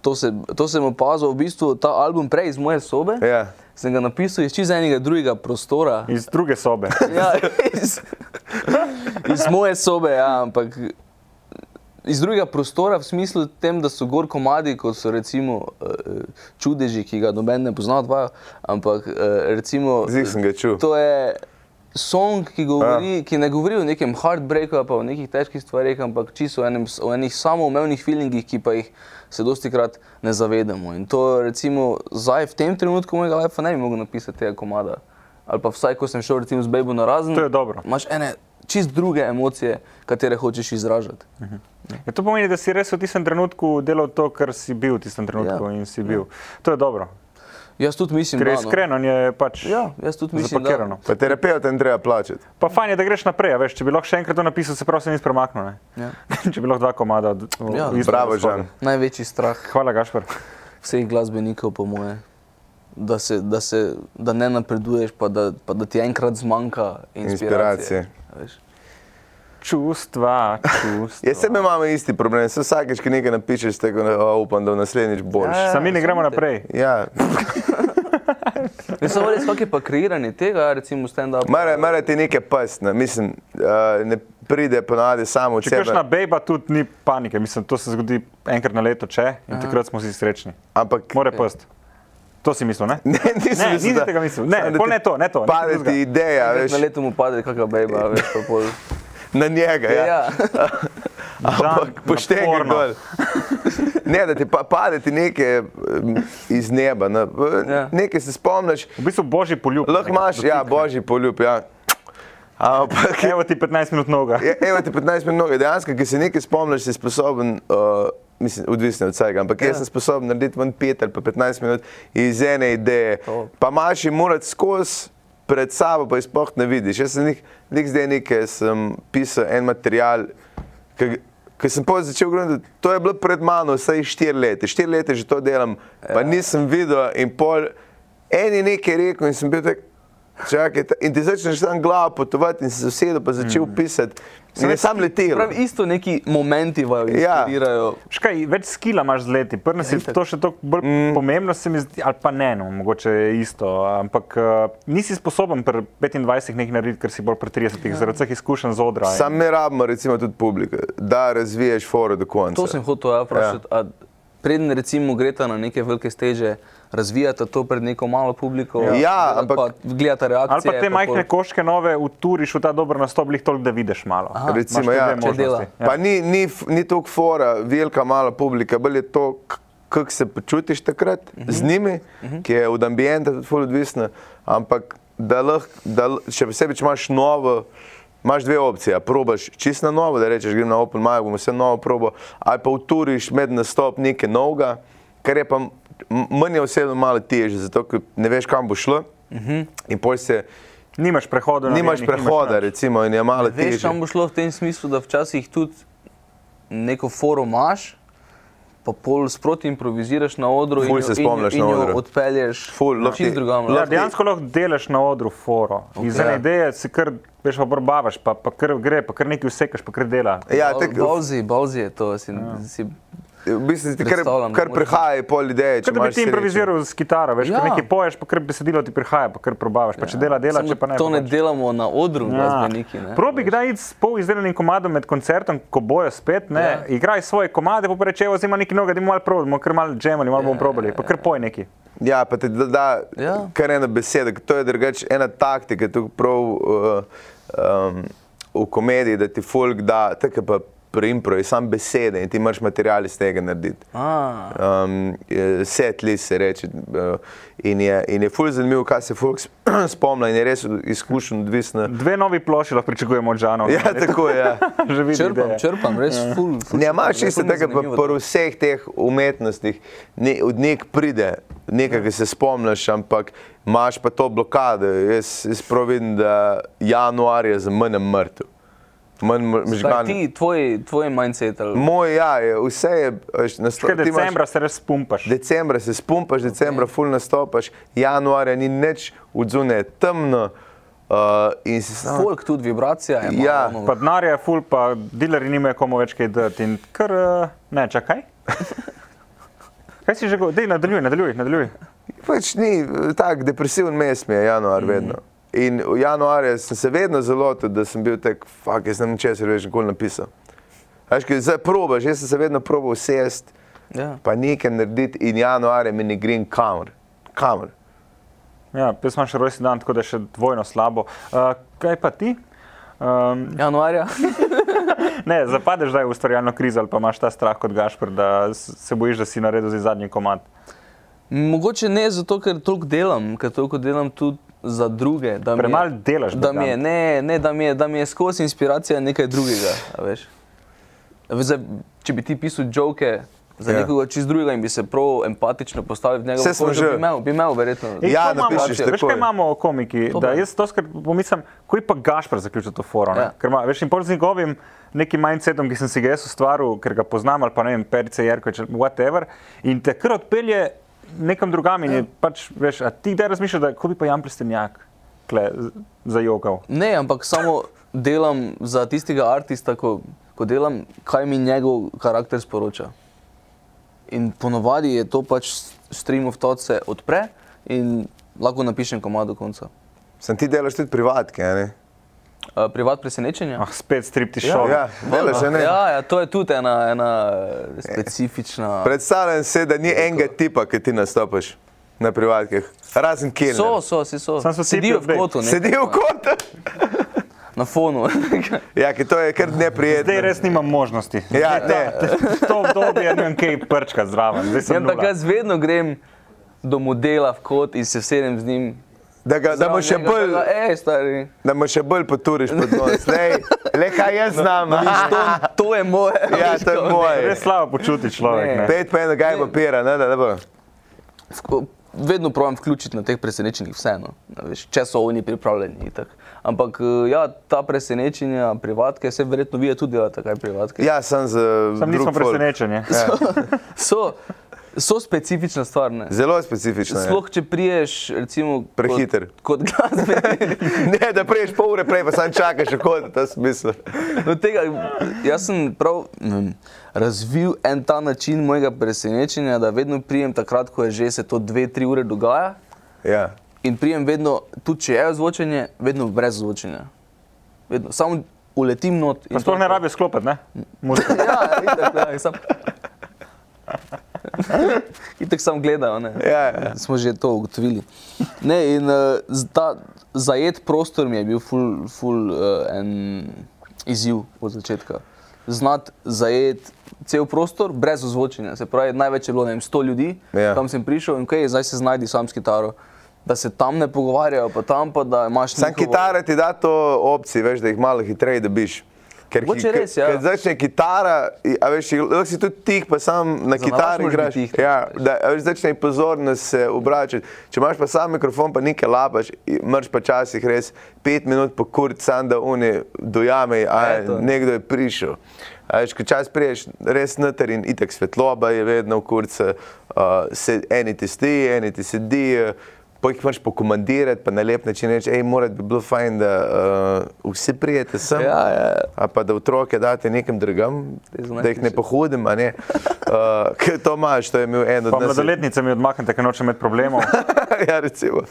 Speaker 2: to, se, to sem opazil, v bistvu ta album prej iz moje sobe.
Speaker 3: Ja.
Speaker 2: Sem ga napisal iz čisto enega drugega prostora.
Speaker 4: Iz druge sobe.
Speaker 2: Ja, iz, iz moje sobe, ja, ampak iz drugega prostora, v smislu tem, da so gor komadi, kot so recimo eh, čudeži, ki ga noben ne pozna, dva, ampak eh, recimo.
Speaker 3: Zdaj sem ga čul.
Speaker 2: To je song, ki, govori, ki ne govori o nekem heartbreaku ali pa o nekih težkih stvarih, ampak čisto o, enem, s- o enih samoumevnih feelingih, ki pa jih se dosti krat ne zavedamo. In to recimo zdaj v tem trenutku mojega life ne bi mogel napisati tega komada. Ali pa vsaj, ko sem šel recimo z Bejbo na razen.
Speaker 4: To je dobro.
Speaker 2: Imaš ene čist druge emocije, katere hočeš izražati. Mhm.
Speaker 4: Ja, to pomeni, da si res v tistem trenutku delal to, kar si bil v tistem trenutku
Speaker 2: Ja.
Speaker 4: ja. in si bil. Ja. To je dobro.
Speaker 2: Jaz tudi mislim,
Speaker 4: Ker je
Speaker 2: da no.
Speaker 4: iskreno, in je pač
Speaker 2: Ja, jaz tudi mislim, da.
Speaker 4: zapakirano.
Speaker 3: Pa terapeutem treba plačati.
Speaker 4: Pa fajn je, da greš naprej, a veš, če bi lahko še enkrat to napisal, se prosim, nisem premaknil.
Speaker 2: Ja.
Speaker 4: Ja. če bi lahko dva komada od
Speaker 2: Ja.
Speaker 4: istega
Speaker 3: Bravo,
Speaker 4: izhoda.
Speaker 3: Žan.
Speaker 2: Največji strah
Speaker 4: Hvala, Gašpor.
Speaker 2: vseh glasbenikov, po moje, da, se, da, se, da ne napreduješ, pa da, pa da ti enkrat zmanjka inspiracije.
Speaker 3: Inspiracije.
Speaker 2: Inspiracije.
Speaker 4: Čustva, čustva.
Speaker 3: Jaz sem imel isti problem, se vsakeč, ki nekaj napišeš, tako da "O, upam, da naslednjič boš.
Speaker 2: Ja,
Speaker 4: Sami ne gremo
Speaker 2: samo te.
Speaker 4: naprej.
Speaker 3: Ja,
Speaker 2: Ne samo res, kako je pa kreiranje tega, recimo stand-up.
Speaker 3: mara, mara ti nekaj pasna, mislim, eh, ne pride ponavadi samo od
Speaker 4: Če greš
Speaker 3: sebe.
Speaker 4: na bejba, tudi ni panike. Mislim, to se zgodi enkrat na leto, če in takrat smo vsi srečni.
Speaker 3: Ampak
Speaker 4: More pest. To si mislil, ne?
Speaker 3: Ne, nisem
Speaker 4: Ne, nisi tega mislil. Ne, pol ne to, ne to, nič
Speaker 3: Pade
Speaker 4: drugega.
Speaker 3: ti ideja, veš,
Speaker 2: Na letu mu pade, kakšna beba, veš, pa pol.
Speaker 3: na njega.
Speaker 2: Ja, ja.
Speaker 3: Ampak
Speaker 4: Žan,
Speaker 3: pošten je
Speaker 4: naporno.
Speaker 3: dol. Ne, da ti pa, pade ti nekaj em, iz neba, ne,
Speaker 2: Ja.
Speaker 3: ja. nekaj se spomniš,
Speaker 4: V bistvu božji poljub.
Speaker 3: lahko imaš, ja, božji poljub, ja. Ampak,
Speaker 4: Evo ti 15 minut noga.
Speaker 3: je- Ja, evo ti 15 minut, noge, dejansko, ki se nekaj spomniš, si sposoben, uh, mislim, odvisno od vsega, ampak ja. jaz sem sposoben narediti ven 5 ali pa 15 minut iz ene ideje,
Speaker 2: To.
Speaker 3: pa imaš jim morat skozi. Pred sabo pa jih sploh ne vidiš. Jaz sem nek, nek zdaj nekaj, sem pisal en material, Ker sem pa začel gledati, to je bilo pred mano, vsaj štiri leta, štiri leta že to delam, ja. pa nisem videl in pol en je nekaj rekel in sem bil tak. Čakaj, ta- in ti začneš tam glavo potovati in si se usedel, pa začel mm. pisati. In je sam letel.
Speaker 2: Prav isto neki momenti vaju
Speaker 3: Ja.
Speaker 2: inspirirajo.
Speaker 4: Škaj, več skila imaš z leti, prvo si to še tako bolj mm. pomembno, se mi zdi, ali pa ne, no, mogoče je isto, ampak uh, nisi sposoben pri 25 nekaj narediti, ker si bolj pri 30, ja. zaradi vseh izkušenj z odra. in-
Speaker 3: Sam ne rabimo recimo tudi publika, da razviješ foro do konca.
Speaker 2: To sem hotel ja, vprašati. Ja. Preden recimo greta na neke velike steže, razvijata to pred neko malo publiko,
Speaker 3: Ja,
Speaker 2: ali
Speaker 3: ampak-
Speaker 2: pa gledata reakcije.
Speaker 4: Ali pa te majhne
Speaker 2: pol-
Speaker 4: koške nove uturiš v ta dober nastop, lih toliko, da vidiš malo. Imaš
Speaker 3: Recimo,
Speaker 4: te
Speaker 3: ja.
Speaker 4: dve
Speaker 3: Če
Speaker 4: možnosti.
Speaker 2: dela.
Speaker 4: Ja.
Speaker 3: Pa ni, ni, f- ni toliko fora, velika, mala publika, bolj je to, kako se počutiš takrat mm -hmm.
Speaker 2: Mhm.
Speaker 3: z njimi, mm -hmm. ki je od ambienta tudi ful odvisno. Ampak da lahko, da l- še posebej, če imaš novo. Imaš dve opcije, probaš čisto na novo, da rečeš, grem na Open Majo, bom vse novo probo, ali pa uturiš med nastop nekaj novega, kar je pa m- m- meni osebno malo težje, zato ker ne veš, kam bo šlo. Uh
Speaker 2: Mhm.
Speaker 3: -huh. In pol se,
Speaker 4: Nimaš prehoda. na
Speaker 3: nimaš
Speaker 4: njenih,
Speaker 3: prehoda,
Speaker 4: nič.
Speaker 3: recimo, in je malo težje.
Speaker 2: Veš, kam bo šlo v tem smislu, da včasih tudi neko forum imaš, pa pol sproti improviziraš na odru in,
Speaker 3: Ful
Speaker 2: jo-
Speaker 3: se
Speaker 2: in, jo-
Speaker 3: spomniš
Speaker 2: in
Speaker 3: na
Speaker 2: jo
Speaker 3: odru.
Speaker 2: odpelješ
Speaker 3: Ful, lahko
Speaker 2: čist
Speaker 3: ti-
Speaker 2: drugam.
Speaker 4: Ja,
Speaker 3: lahko ti-
Speaker 4: dejansko lahko delaš na odru foro. Okay. Iz ene
Speaker 3: Ja.
Speaker 4: ideje si kar, veš, pa brbavaš, pa, pa kar gre, pa kar nekaj vsekaš, pa kar dela.
Speaker 3: Ja, tako-
Speaker 2: Balzi, balzi je to. Si, ja. si,
Speaker 3: V bistvu ti kar,
Speaker 2: Predstavljam,
Speaker 3: kar
Speaker 2: da moraš-
Speaker 3: prihaja pol ideje. če
Speaker 4: Če bi
Speaker 3: imaš
Speaker 4: ti
Speaker 3: srečo.
Speaker 4: improviziral s kitaro, veš, ja.
Speaker 2: Ja.
Speaker 4: nekaj poješ, pa kar besedilo ti prihaja, pa kar probavaš. Pa če dela, dela,
Speaker 2: Samo
Speaker 4: če pa ne.
Speaker 2: to
Speaker 4: pa
Speaker 2: ne
Speaker 4: pač. Ja.
Speaker 2: delamo na odru,
Speaker 3: Ja.
Speaker 2: glasbeniki. ne.
Speaker 4: Probi kdaj iti s pol izdelanim komadom med koncertom, ko bojo spet, ne,
Speaker 2: Ja.
Speaker 4: ja. igraj svoje komade, pa reče, evo, zima neki noga, da jim malo probamo, ker malo džemali, malo ja, bomo probali, pa kar poj neki.
Speaker 3: Ja, pa ti da, da
Speaker 2: Ja.
Speaker 3: ja. kar ena beseda, ker to je drugače ena taktika, tu prav uh, um, v komediji, da ti folk da, tako je pa pri impro, je sam besede in ti moraš material iz tega narediti.
Speaker 2: A,
Speaker 3: um, set list se reče. eh, In je, in je ful zanimivo, kaj se folk sp- spomne in je res od- izkušen odvisno.
Speaker 4: Dve novi ploši lahko pričakujemo od Žana.
Speaker 3: Ja, tako je. Ja.
Speaker 4: Že vidim,
Speaker 2: črpam,
Speaker 4: ideje.
Speaker 2: črpam, res ful. ful
Speaker 3: Ne,
Speaker 2: črpam,
Speaker 3: imaš
Speaker 2: je
Speaker 3: isto
Speaker 2: ful
Speaker 3: tega, pa
Speaker 2: zanimivo
Speaker 3: pri vseh teh umetnostih ne, od nek pride, nekaj, ki se spomniš, ampak imaš pa to blokado. Jaz, jaz prav vidim, da januar je za mene mrtev. Manj mr-
Speaker 2: to. Kaj
Speaker 3: možgan.
Speaker 2: ti, tvoj, tvoj mindset ali
Speaker 3: Moj, ja, je, vse je
Speaker 4: Kaj
Speaker 3: nastalo.
Speaker 4: decembra se res pumpaš.
Speaker 3: Decembra se spumpaš, decembra okay. ful nastopaš, januarja ni nič, odzune je temno uh, in si samo.
Speaker 2: folk, tudi vibracija je. malo,
Speaker 3: Ja,
Speaker 2: ono,
Speaker 4: Pa denar je ful, pa dileri nimajo komu več kaj dati. in Kar, eh, ne, čakaj. Kaj si že govoril? Dej, nadaljuj, nadaljuj, nadaljuj.
Speaker 3: Pač ni tako depresiven mesec, mi je januar vedno. In v januarju sem se vedno zelo tudi, da sem bil tak, fuck, jaz sem ničesar več nikoli napisal. Veš, ki zdaj probaš, jaz sem se vedno probal sest,
Speaker 2: Ja.
Speaker 3: pa nekaj narediti in januarja mi ne grem kamor. kamor.
Speaker 4: Ja, jaz imam še rojstni dan, tako da je še dvojno slabo. Uh, kaj pa ti? Um,
Speaker 2: Januarja.
Speaker 4: ne, zapadeš zdaj v ustvarjalno krizo ali pa imaš ta strah kot Gašpr, da s- se bojiš, da si naredil zdaj zadnji komad.
Speaker 2: Mogoče ne zato, ker toliko delam, ker toliko delam tudi za druge. da mi je-
Speaker 4: Premalo delaš,
Speaker 2: Da mi je,
Speaker 4: Bogdan.
Speaker 2: ne, ne, da mi je, da mi je skozi inspiracija nekaj drugega. a veš. A veš, Zdaj, če bi ti pisal joke za
Speaker 3: Ja.
Speaker 2: yeah. nekoga čist drugega in bi se prav empatično postavil v njegov
Speaker 3: Saj smo
Speaker 2: položaj,
Speaker 3: že.
Speaker 2: bi imel, bi imel verjetno.
Speaker 3: Ej, Ja,
Speaker 4: to imamo,
Speaker 3: napišeš
Speaker 4: veš,
Speaker 3: takoj.
Speaker 4: kaj imamo komiki.
Speaker 2: To
Speaker 4: Da
Speaker 2: bo.
Speaker 4: jaz to skrat pomislim, ko je pa Gašpr zaključil to forum.
Speaker 2: Ja.
Speaker 4: Ja. Ker ima, veš, in pol z njegovim nekim mindsetom, ki sem si ga jaz ustvaril, ker ga poznam ali pa ne vem, Perice Jerkovič, ali whatever, in te kar odpelje nekam drugam
Speaker 2: Ja.
Speaker 4: in je pač, veš, a ti kdaj razmišljaš, da ko bi pa Jan Plestenjak tle zajokal.
Speaker 2: Ne, ampak samo delam za tistega umetnika, ko, ko delam, kaj mi njegov karakter sporoča. In ponovadi je to pač stream of thought se odpre in lahko napišem komad do konca.
Speaker 3: Sem ti delaš tudi privatke, a ne?
Speaker 2: Uh, privat presenečenja.
Speaker 4: Ah, spet stripti šov.
Speaker 3: Ja, delaš, a ne?
Speaker 2: ja, ja, to je tudi ena, ena eh, specifična.
Speaker 3: Predstavljam se, da ni enega tipa, ki ti nastopaš na privatkih, razen Kilner.
Speaker 2: So, so, si so.
Speaker 4: Samo so
Speaker 2: Sedijo
Speaker 4: tipi
Speaker 2: v kotu, ne,
Speaker 3: Sedi v kotu.
Speaker 2: na fonu.
Speaker 3: Ja, ki to je kar neprijetno.
Speaker 4: Zdaj res nimam možnosti.
Speaker 3: Ja, ne.
Speaker 4: To obdobje, ne vem, kaj prčka zraven. Zdaj sem
Speaker 2: ja, ampak
Speaker 4: nula.
Speaker 2: jaz vedno grem do modela v kot in se vsedem z njim.
Speaker 3: Da, ga, da, mu še
Speaker 2: Zraven njega,
Speaker 3: bolj,
Speaker 2: pa ga, Ej, stari.
Speaker 3: da mu še bolj poturiš pod nos. Lej, le kaj jaz znam. aha.
Speaker 2: To, to je moje.
Speaker 3: Ja, to je moje.
Speaker 4: Res slabo počuti človek.
Speaker 2: Ne.
Speaker 4: Ne.
Speaker 3: Pet pa eno gaj papira, ne da ne bo.
Speaker 2: Vko- Vedno pravim vključiti na teh presenečenjih vseeno, a veš, če so oni pripravljeni. Itak. Ampak eh, ja, ta presenečenja, privatke, se verjetno vi tudi delate, kaj privatke.
Speaker 3: Ja, sem z.
Speaker 4: Sam
Speaker 3: drug
Speaker 4: ja. nismo
Speaker 3: folk. Ja.
Speaker 4: presenečeni.
Speaker 2: So, so specifična stvar. Ne?
Speaker 3: Zelo specifično. je.
Speaker 2: Sploh, če priješ, recimo,
Speaker 3: Prehiter.
Speaker 2: Kot, kot glasbenik.
Speaker 3: Ne, da prejš pol ure prej, pa sam čakaš, kako je to smisel.
Speaker 2: Do tega, jaz sem prav mm, razvil en ta način mojega presenečenja, da vedno prijem takrat, ko je že se to dve, tri ure dogaja.
Speaker 3: Ja.
Speaker 2: In prijem vedno, tudi če je ozvočenje, vedno brez ozvočenja. Vedno, samo uletim not. in
Speaker 4: Pa sploh
Speaker 2: to-
Speaker 4: ne rabijo sklopiti, ne? Muzika.
Speaker 2: Ja, itak, ja, sam... Itek sam gledajo. Ne?
Speaker 3: Ja, ja.
Speaker 2: Smo že to ugotovili. Ne, in, uh, ta zajet prostor mi je bil ful, ful uh, en izziv od začetka. Znati zajet cel prostor brez ozvočenja. Se pravi, največ je bilo ne vem, 100 ljudi,
Speaker 3: Ja.
Speaker 2: ja. tam sem prišel in kaj, zdaj se znajdi sam s kitaro. Da se tam ne pogovarjajo, pa tam pa da imaš
Speaker 3: Sam
Speaker 2: njihovo-
Speaker 3: kitara ti da to opcijo, veš, da jih malo hitreje dobiš. Ker
Speaker 2: Mogoče
Speaker 3: ki-
Speaker 2: res, ja.
Speaker 3: ker začne kitara, i- a veš, je- lahko si tudi tih, pa sam na
Speaker 2: Za nalašč
Speaker 3: kitari
Speaker 2: moraš
Speaker 3: igraš.
Speaker 2: biti tih,
Speaker 3: ja, da, a veš, začne pozornost se obračati. Če imaš pa sam mikrofon, pa nekaj lapaš, i- mrš pa časih res pet minut po kurc, sam da uni dojame, a
Speaker 2: Eto.
Speaker 3: nekdo je prišel. A veš, ko čas priješ, res noter in itek svetloba je vedno v kurcu, uh, se- eni ti stoji, eni ti sedi. Uh, Pa jih moraš pokomandirati, pa na lep način reči, hej, mora bi bilo fajn, da uh, vsi prijete sem.
Speaker 2: Ja, ja.
Speaker 3: A pa da otroke date nekam drugam,
Speaker 2: Te zunaj
Speaker 3: da jih ne
Speaker 2: hiše.
Speaker 3: pohodim, a ne. Uh, ker to imaš, to je imel en od
Speaker 4: Pa
Speaker 3: nas.
Speaker 4: mladoletnice mi odmaknete, ker nočem imeti problemov.
Speaker 3: ja, recimo.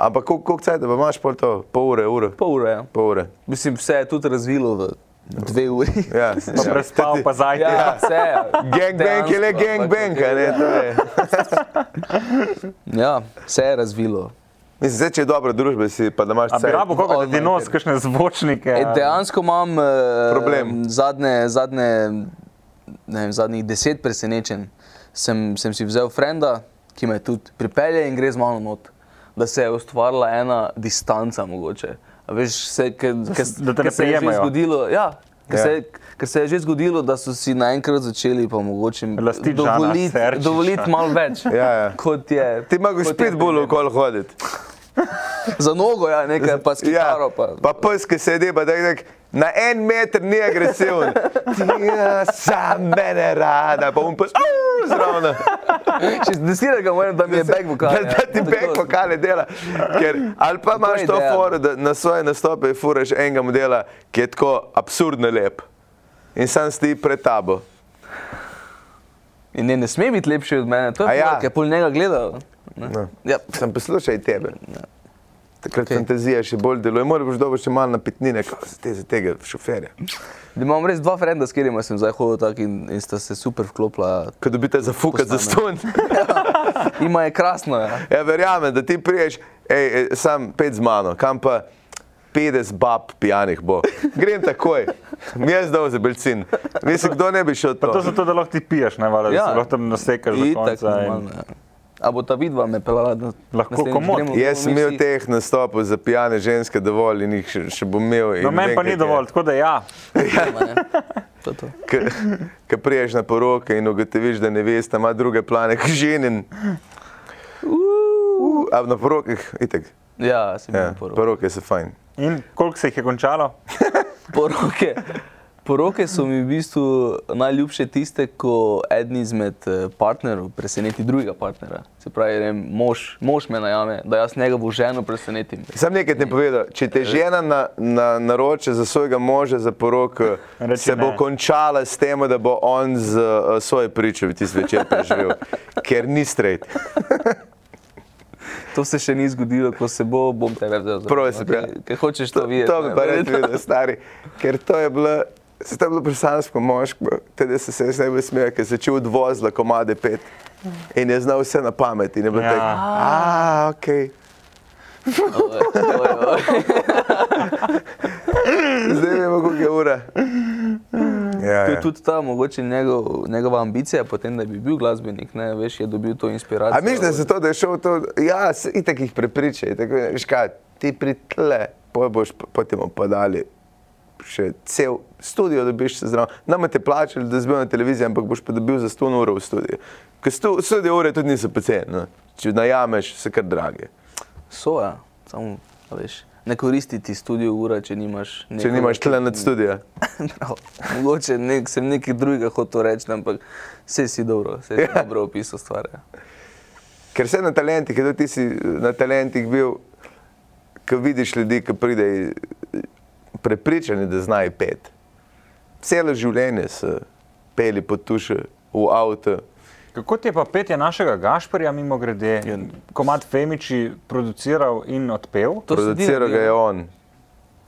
Speaker 3: Ampak koliko kol cajt, da pa imaš pol to, pol ure, uro,
Speaker 2: Pol ure. Ja.
Speaker 3: pol ure.
Speaker 2: Mislim, vse je tudi razvilo v dve uri.
Speaker 3: Ja,
Speaker 4: Pa prespal, pa zajti.
Speaker 2: Ja, vse je.
Speaker 3: Gangbang je le
Speaker 2: Dejansko,
Speaker 3: gangbang,
Speaker 2: ampak-
Speaker 3: a ne, to je.
Speaker 2: Ja, vse je razvilo.
Speaker 3: Mislim, zdaj, če je dobra družba, si pa da imaš
Speaker 4: A bi
Speaker 3: cajt.
Speaker 4: rabo koga, da ti
Speaker 2: Odmaknete.
Speaker 4: nos, kakšne zvočnike. ja.
Speaker 2: E, dejansko imam eh,
Speaker 3: Ja. Problem.
Speaker 2: Zadnje, zadnje, ne vem, zadnjih deset presenečenj. Sem, sem si vzel frenda, ki me tudi pripelje in gre z mano not. Da se je ustvarila ena distanca, mogoče. A Veš, se, ke, ke,
Speaker 4: da te
Speaker 2: ke
Speaker 4: ne
Speaker 2: se je že
Speaker 4: prijemajo.
Speaker 2: zgodilo. Ja, Ker
Speaker 3: Ja.
Speaker 2: se, je- ker se je že zgodilo, da so si naenkrat začeli pa mogoče
Speaker 4: Lasti Žana
Speaker 2: dovoliti
Speaker 4: Serčiča.
Speaker 2: dovolit malo več,
Speaker 3: Ja, ja.
Speaker 2: kot je.
Speaker 3: Ti imaš
Speaker 2: kot je
Speaker 3: spet bolj okol hoditi.
Speaker 2: Za nogo, ja, nekaj pa s kitaro.
Speaker 3: pa, pa
Speaker 2: Pa.
Speaker 3: pes, ki sedi, pa da je na en meter ni agresiven. Ja, sam mene rada, pa um pes, "Au", zraven.
Speaker 2: Če zdesira ga moram, da mi je ja. back vokal.
Speaker 3: Da, da ti bek vokale dela. Ker, ali pa imaš
Speaker 2: je
Speaker 3: to
Speaker 2: ideja.
Speaker 3: foro, da na svoje nastope furaš enega modela, ki je tako absurdno lep. In sam sti pred tabo.
Speaker 2: In ne, ne sme biti lepši od mene, to
Speaker 3: A
Speaker 2: je
Speaker 3: ja.
Speaker 2: ja. ker pol njega gledal. ne.
Speaker 3: No.
Speaker 2: Ja.
Speaker 3: Sem poslušaj tebe. Takrat
Speaker 2: Okej.
Speaker 3: okay. fantazija še bolj deluje, moraš dobo še malo napitnine, kot se te za tega šoferja.
Speaker 2: Da imam res dva frenda, s katerima sem zdaj hodil tak in, in sta se super vklopila. ja.
Speaker 3: Ko dobite zafukat za ston.
Speaker 2: Ima je krasno, ja.
Speaker 3: Ja, verjamem, da ti priješ, ej, ej, sam pet z mano, kam pa 50 bab pijanih bo. Grem takoj, mi je zdal za belcin. Mislim, kdo ne bi šel
Speaker 4: To
Speaker 3: to.
Speaker 4: zato, da lahko ti piješ, ne vale, da
Speaker 2: Ja.
Speaker 4: se lahko tam nasekaš do
Speaker 2: Itak,
Speaker 4: konca.
Speaker 2: normalno,
Speaker 4: in-
Speaker 2: ja. A bo ta vidva me pelala na
Speaker 4: Lahko
Speaker 2: naslednjič
Speaker 4: komot.
Speaker 2: gremo,
Speaker 3: Jaz
Speaker 2: bomo
Speaker 3: sem
Speaker 2: mi
Speaker 3: imel
Speaker 2: vsi-
Speaker 3: teh nastopov za pijane ženske dovolj in jih še, še bom imel. in
Speaker 4: No,
Speaker 3: vem,
Speaker 4: meni pa
Speaker 3: kako
Speaker 4: ni
Speaker 3: je.
Speaker 4: dovolj, tako da ja.
Speaker 2: To je to.
Speaker 3: Ko priješ na poroke in ugotoviš, da nevesta ima druge plane, kot ženin. Uh, a na porokih, itek.
Speaker 2: Ja, sem
Speaker 3: Ja,
Speaker 2: bil porok.
Speaker 3: poroke so fajn.
Speaker 4: In koliko se jih je končalo?
Speaker 2: Poroke. Poroke so mi v bistvu najljubše tiste, ko eden izmed eh, partnerjev preseneti drugega partnera. Se pravi, ne, vem, mož, mož me najame, da jaz njega bo ženo presenetim.
Speaker 3: Sam nekaj ti povedal, če te žena na, na, naroče za svojega moža za poroko,
Speaker 4: Reči
Speaker 3: se bo
Speaker 4: ne.
Speaker 3: končala s tem, da bo on z uh, svoje priče tisti večer preživel, ker ni straight.
Speaker 2: To se še ni zgodilo, ko se bo, bom tebe vzel za
Speaker 3: Prosim, ja.
Speaker 2: Ker hočeš to videti.
Speaker 3: To bi
Speaker 2: ne,
Speaker 3: pa
Speaker 2: verjetno.
Speaker 3: rad videl, stari. Ker to je bilo, se to je bilo prsansko moško, tudi se se je najbolj smejal, ker se je začel odvozla komade pet in je znal vse na pamet in je bilo
Speaker 4: Ja.
Speaker 3: ja. tako, a, ok.
Speaker 2: Oj, oj, oj.
Speaker 3: Zdaj vemo, koliko je ura. Ja,
Speaker 2: To
Speaker 3: ja.
Speaker 2: je tudi ta mogoče njegov, njegova ambicija, potem, da bi bil glasbenik, ne, veš, je dobil to inspiracijo.
Speaker 3: A misliš, da se to, da je šel to, ja, se itak jih prepričaj, tako veš kaj, ti pritle, poj boš p- potem opadali. Še cel studio dobiš se zraven. Nam te plačali, da zbijo na televiziji, ampak boš pa dobil za 100 ur v studiu. Ker stu, studio ure tudi niso poceni. No. Če najameš, so kar drage.
Speaker 2: Soja, ja, samo, a veš, ne koristi ti studio ura, če nimaš
Speaker 3: Če
Speaker 2: nekoga,
Speaker 3: nimaš
Speaker 2: ki-
Speaker 3: tle nad studio.
Speaker 2: Prav. No, Mogoče nek, sem nekaj drugega hotel reči, ampak vse si dobro, vse si
Speaker 3: Ja.
Speaker 2: ja. dobro opisal stvar. Ja.
Speaker 3: Ker se na talentih, ker tudi ti si eh, na talentih bil, ko vidiš ljudi, ki pridejo prepričani, eh, da znajo pet. Celo življenje so peli po tuše, v avtu.
Speaker 4: Kako ti je pa petje našega Gašporja, mimo
Speaker 3: Ja.
Speaker 4: grede, komat Femiči produciral in odpel?
Speaker 2: To si ti
Speaker 3: Produciral
Speaker 2: naredil,
Speaker 3: ga je
Speaker 2: ne?
Speaker 3: on.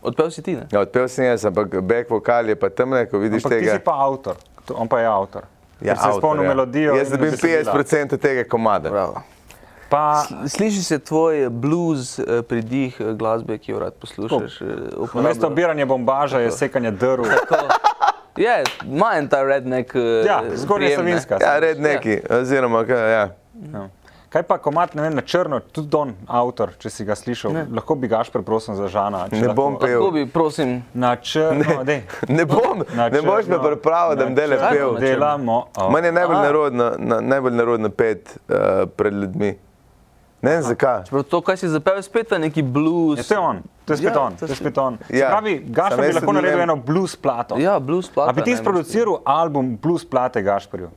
Speaker 2: Odpel si ti, ne?
Speaker 3: Ja, odpel sem jaz, ampak back vokal je pa temne, ko vidiš
Speaker 4: Ampak ti si
Speaker 3: tega.
Speaker 4: pa avtor, To- on pa je avtor.
Speaker 3: Ja,
Speaker 4: Ker se
Speaker 3: avtor,
Speaker 4: spomnim
Speaker 3: ja.
Speaker 4: melodijo.
Speaker 3: Jaz
Speaker 4: in
Speaker 3: dobim
Speaker 4: besedila.
Speaker 3: 50% tega
Speaker 4: Ja,
Speaker 3: komada.
Speaker 2: Bravo.
Speaker 4: Pa,
Speaker 2: Sliši se tvoj blues eh, pridih eh, glasbe, ki jo rad poslušaš. eh, uporabljajo.
Speaker 4: namesto obiranja bombaža je sekanje drv.
Speaker 2: Tako. Je, ima en ta redneck. eh,
Speaker 4: Ja, zgornja
Speaker 2: prijem, ne.
Speaker 4: Savinjska.
Speaker 3: Ja, red neki, oziroma, kaj, ja.
Speaker 4: Ja. Kaj pa komat, ne vem, na črno, tudi Don, avtor, če si ga slišal, ne. lahko bi gaš preprosil za Žana. če
Speaker 3: Ne
Speaker 4: lahko-
Speaker 3: bom pel.
Speaker 2: Tako bi, prosim,
Speaker 4: Na črno, dej.
Speaker 3: Ne bom,
Speaker 4: Na
Speaker 3: ne boš me
Speaker 4: črno,
Speaker 3: pripravil, da
Speaker 4: na
Speaker 3: bi dele
Speaker 4: črno
Speaker 3: pel.
Speaker 2: Na črno.
Speaker 4: Delamo. o.
Speaker 3: Meni je najbolj
Speaker 2: A.
Speaker 3: nerodno, na, najbolj nerodno pet uh, pred ljudmi. Ne vem zakaj.
Speaker 2: prav to, kaj si zapel, je spet ta neki blues.
Speaker 4: Ja, to je on, to je spet
Speaker 2: Ja,
Speaker 4: on, to je spet on.
Speaker 3: Ja.
Speaker 4: Ja. Pravi, Gašpor
Speaker 3: Samo
Speaker 4: bi
Speaker 3: jaz
Speaker 4: lahko
Speaker 3: ne
Speaker 4: naredil
Speaker 3: vem.
Speaker 4: eno blues plato.
Speaker 2: Ja, blues plata.
Speaker 4: A bi ti
Speaker 2: ne,
Speaker 4: sproduciral album blues plate Gašporju?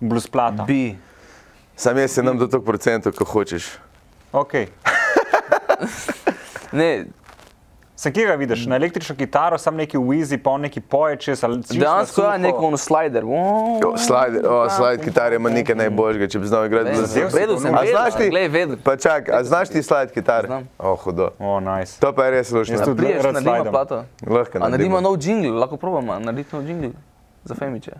Speaker 4: Blues plata.
Speaker 2: Bi.
Speaker 3: Sam jaz se nam do tog procentov, ko hočeš.
Speaker 4: Okay.
Speaker 2: Ne,
Speaker 4: Sem kje ga vidiš, na električno kitaro, sam neki wizi, pa on neki poje čez ali čisto na
Speaker 2: dejansko je
Speaker 4: suho.
Speaker 2: nek ono slider. Wow.
Speaker 3: Jo, Slide, o, slide kitar ima nekaj najboljšega, če bi znal igrati
Speaker 2: Vem,
Speaker 3: blues.
Speaker 4: vzel si
Speaker 2: Vedel
Speaker 4: to
Speaker 2: sem,
Speaker 4: nujno.
Speaker 3: A
Speaker 2: vedel
Speaker 3: znaš
Speaker 2: sem,
Speaker 3: ti?
Speaker 2: glej, vedel.
Speaker 3: Pa čak, a znaš ti slide kitar?
Speaker 2: Znam.
Speaker 3: O, hudo.
Speaker 4: O, nice.
Speaker 3: To pa je res lušno.
Speaker 4: Jaz tudi.
Speaker 2: Priješ,
Speaker 4: rad
Speaker 2: naredimo
Speaker 4: slajdem.
Speaker 2: plato.
Speaker 3: Lahko
Speaker 2: A no-
Speaker 3: naredimo.
Speaker 2: naredimo nov jingle, lahko probamo narediti nov jingle za Femiče.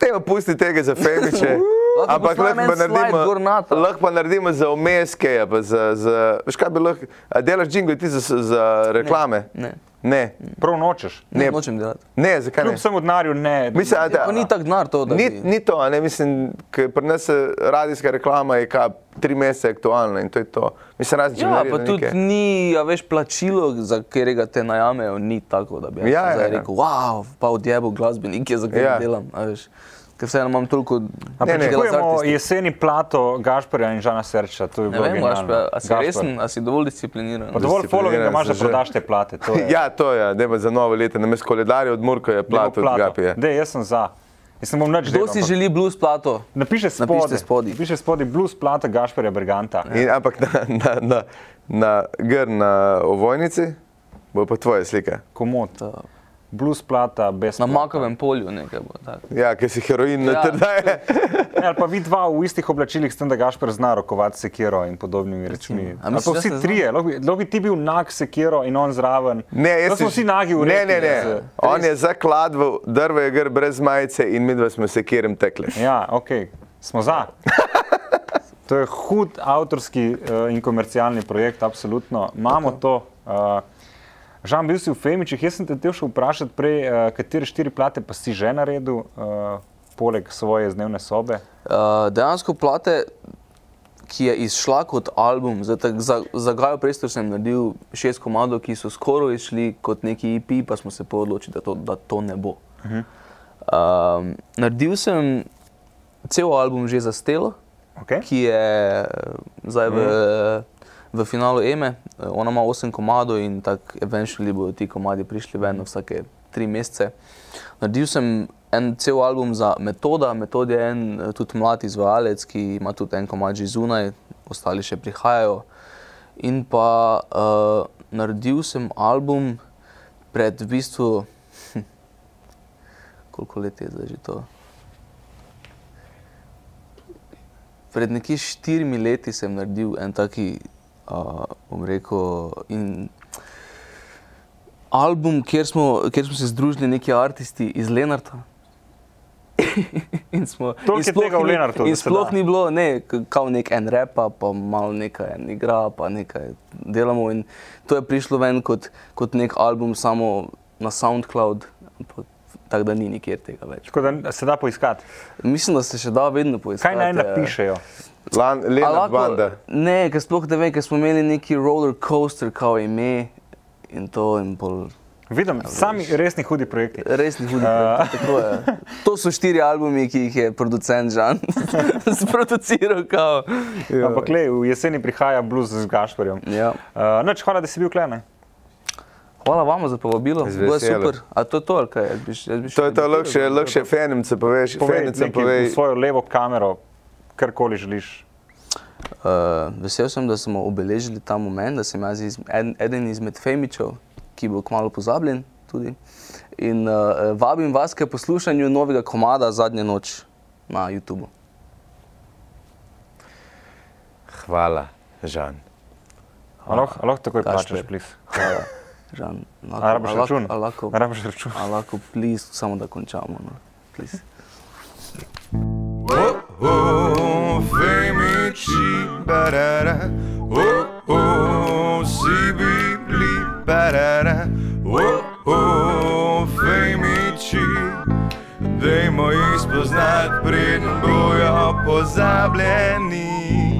Speaker 3: Tega pusti tega za femiče.
Speaker 2: Lahko
Speaker 3: Ampak
Speaker 2: postavim
Speaker 3: lahko pa
Speaker 2: en slide gor
Speaker 3: naredimo,
Speaker 2: nato.
Speaker 3: lahko pa naredimo za omeske, pa za, za, veš kaj bi lahko, a delaš jingle ti za, za reklame?
Speaker 2: ne.
Speaker 3: Ne,
Speaker 4: Prav nočeš.
Speaker 2: Ne,
Speaker 3: Ne.
Speaker 2: nočem delati.
Speaker 3: ne, zakaj
Speaker 4: Kljub
Speaker 3: ne?
Speaker 4: vsemu denarju ne.
Speaker 3: Mislim, a da-
Speaker 2: Pa ni tako gnar to, da
Speaker 3: Ni,
Speaker 2: bi.
Speaker 3: ni to, a ne mislim, ker pri nas eh, radijska reklama je kaj tri mesece aktualna in to je to. Mislim, razen če bi
Speaker 2: Ja,
Speaker 3: naredili
Speaker 2: pa tudi
Speaker 3: neke-
Speaker 2: ni, a veš, plačilo, za katerega te najamejo, ni tako, da bi jaz
Speaker 3: Ja,
Speaker 2: ja, zdaj
Speaker 3: ja, ja.
Speaker 2: rekel, wow, pa odjebo glasbenik je, za katerega
Speaker 3: Ja.
Speaker 2: ja. delam, a veš. Ker vseeno imam toliko
Speaker 4: A
Speaker 3: Ne, ne.
Speaker 2: dela z
Speaker 4: pričakujemo
Speaker 2: artisti.
Speaker 4: jeseni plato Gašporja in Žana Serča. To je
Speaker 2: Ne
Speaker 4: bilo
Speaker 2: vem,
Speaker 4: genialno.
Speaker 2: Gašper, a si
Speaker 4: Gašper.
Speaker 2: resen, a si dovolj discipliniran?
Speaker 4: Pa dovolj followinga
Speaker 3: Discipliniran
Speaker 4: imaš, da
Speaker 3: sem že.
Speaker 4: prodaš te plate. To je.
Speaker 3: Ja, to je, da ima za novo leto, na mestu koledarja od Murka je
Speaker 4: Dajmo
Speaker 3: plat od Gapije.
Speaker 4: Dej, jaz sem za. Jaz ne bom nič
Speaker 2: Kdo
Speaker 4: delal.
Speaker 2: si
Speaker 4: ampak
Speaker 2: želi blues plato?
Speaker 4: Napiše spodaj.
Speaker 2: Napišite spodaj.
Speaker 4: Napiše spodaj blues plata Gašporja Berganta.
Speaker 3: In, ampak na, na, na, na gr na ovojnici bo pa tvoja slika.
Speaker 4: Komod. Blues plata, brez
Speaker 2: Na
Speaker 4: plata.
Speaker 2: makovem polju nekaj bo tako.
Speaker 3: Ja, ker si heroin ja.
Speaker 2: Ja.
Speaker 3: natrdaje.
Speaker 4: Ne, ali pa vi dva v istih oblačilih, s tem, da Gašpr zna rokovati sekiro in podobnimi rečmi. Ali
Speaker 2: misliš,
Speaker 4: pa
Speaker 2: da
Speaker 4: vsi
Speaker 2: se znam?
Speaker 4: trije, lahko bi- lahko bi ti bil nag sekiro in on zraven.
Speaker 3: Ne,
Speaker 4: Lahko
Speaker 3: jaz
Speaker 4: smo
Speaker 3: si-
Speaker 4: vsi nagi v
Speaker 3: Ne,
Speaker 4: redu.
Speaker 3: ne, ne. On je zakladval, drvo je gr brez majice in midva smo se kjerem tekli.
Speaker 4: Ja, ok, smo za. To je hud avtorski uh, in komercialni projekt, absolutno. Imamo to. Uh, Žan, bil si v Femičih, jaz sem te hotel še vprašati prej, uh, katere štiri plate pa si že eh, naredil, uh, poleg svoje dnevne sobe.
Speaker 2: Uh, dejansko plate, Eh, ki je izšla kot album. Zdaj, tak, za, za Gajo Prestor sem naredil šest komadov, ki so skoraj išli kot neki IP, pa smo se pa odločili, da to, da to ne bo. Uh -huh. um, naredil sem cel album že za Stelo,
Speaker 4: Okay.
Speaker 2: ki je eh, zdaj v, v finalu EME. Eh, Ona ima 8 komadov in tako eventually bodo ti komadi prišli ven vsake 3 mesece. Naredil sem en cel album za Metoda. Metod je en eh, tudi mlad izvajalec, ki ima tudi en komad že zunaj, ostali še prihajajo. In pa uh, naredil sem album pred v bistvu, hm, koliko let je zdaj že to? pred nekje štirimi leti sem naredil en taki, uh, bom rekel, in album, kjer smo, kjer smo se združili neki umetniki iz Lenarta. in smo,
Speaker 4: Toliko je
Speaker 2: in sploh
Speaker 4: tega v
Speaker 2: ni-
Speaker 4: Lenartu, da
Speaker 2: In
Speaker 4: se da.
Speaker 2: sploh ni bilo, ne, k- kao nek en repa, pa malo nekaj en igra, pa nekaj delamo. In to je prišlo ven kot, kot nek album, samo na SoundCloud, ampak tako da ni nikjer tega več.
Speaker 4: Tako da se da poiskati.
Speaker 2: Mislim, da se še da vedno poiskati.
Speaker 4: Kaj
Speaker 3: ja.
Speaker 4: naj
Speaker 2: eh,
Speaker 4: napišejo?
Speaker 3: Lan,
Speaker 2: A
Speaker 3: Leonard
Speaker 2: lahko-
Speaker 3: Banda.
Speaker 2: Ne, ker sploh ne vem, ker smo imeli neki roller coaster, kot ime in to. In pol,
Speaker 4: Vidim,
Speaker 3: Ja,
Speaker 4: sami resni hudi projekti.
Speaker 2: res ni hudo. Uh. Tako je. To so štiri albumi, ki jih je producent Žan sproduciral. kao.
Speaker 3: Ja.
Speaker 4: Ampak le, v jeseni prihaja blues z Gašporjem.
Speaker 2: Ja.
Speaker 4: Uh, noč, hvala, da si bil klene.
Speaker 2: Hvala vam za povabilo,
Speaker 3: Z
Speaker 2: bilo je
Speaker 3: veseljem.
Speaker 2: super. A to je to, ali kaj? Jaz bi, še- jaz bi še
Speaker 3: To je to,
Speaker 2: kaj
Speaker 3: lahko
Speaker 2: dodal?
Speaker 3: lahko še fenicam poveš,
Speaker 4: Povej
Speaker 3: fenicam
Speaker 4: nekaj v
Speaker 3: povej.
Speaker 4: svojo levo kamero, karkoli želiš.
Speaker 2: Uh, vesel sem, da smo obeležili ta moment, da sem jaz iz, en, eden izmed femičev, ki bo kmalo pozabljen. Tudi. In uh, vabim vas k poslušanju novega komada zadnje noč na YouTubu.
Speaker 3: Hvala, Žan.
Speaker 4: Lahko lahko takoj
Speaker 2: Gašper.
Speaker 4: plačeš, plis.
Speaker 2: Hvala, Žan. Lahko-
Speaker 4: A rabiš
Speaker 2: a lahko-
Speaker 4: račun?
Speaker 2: a lahko-
Speaker 4: A rabiš račun?
Speaker 2: a Lahko, please, samo da končamo. No. Please.
Speaker 1: Oh, oh, Femici, barara. Oh, oh, Sibibli, barara. Oh, oh, Femici. Dajmo jih spoznati, preden bojo pozabljeni.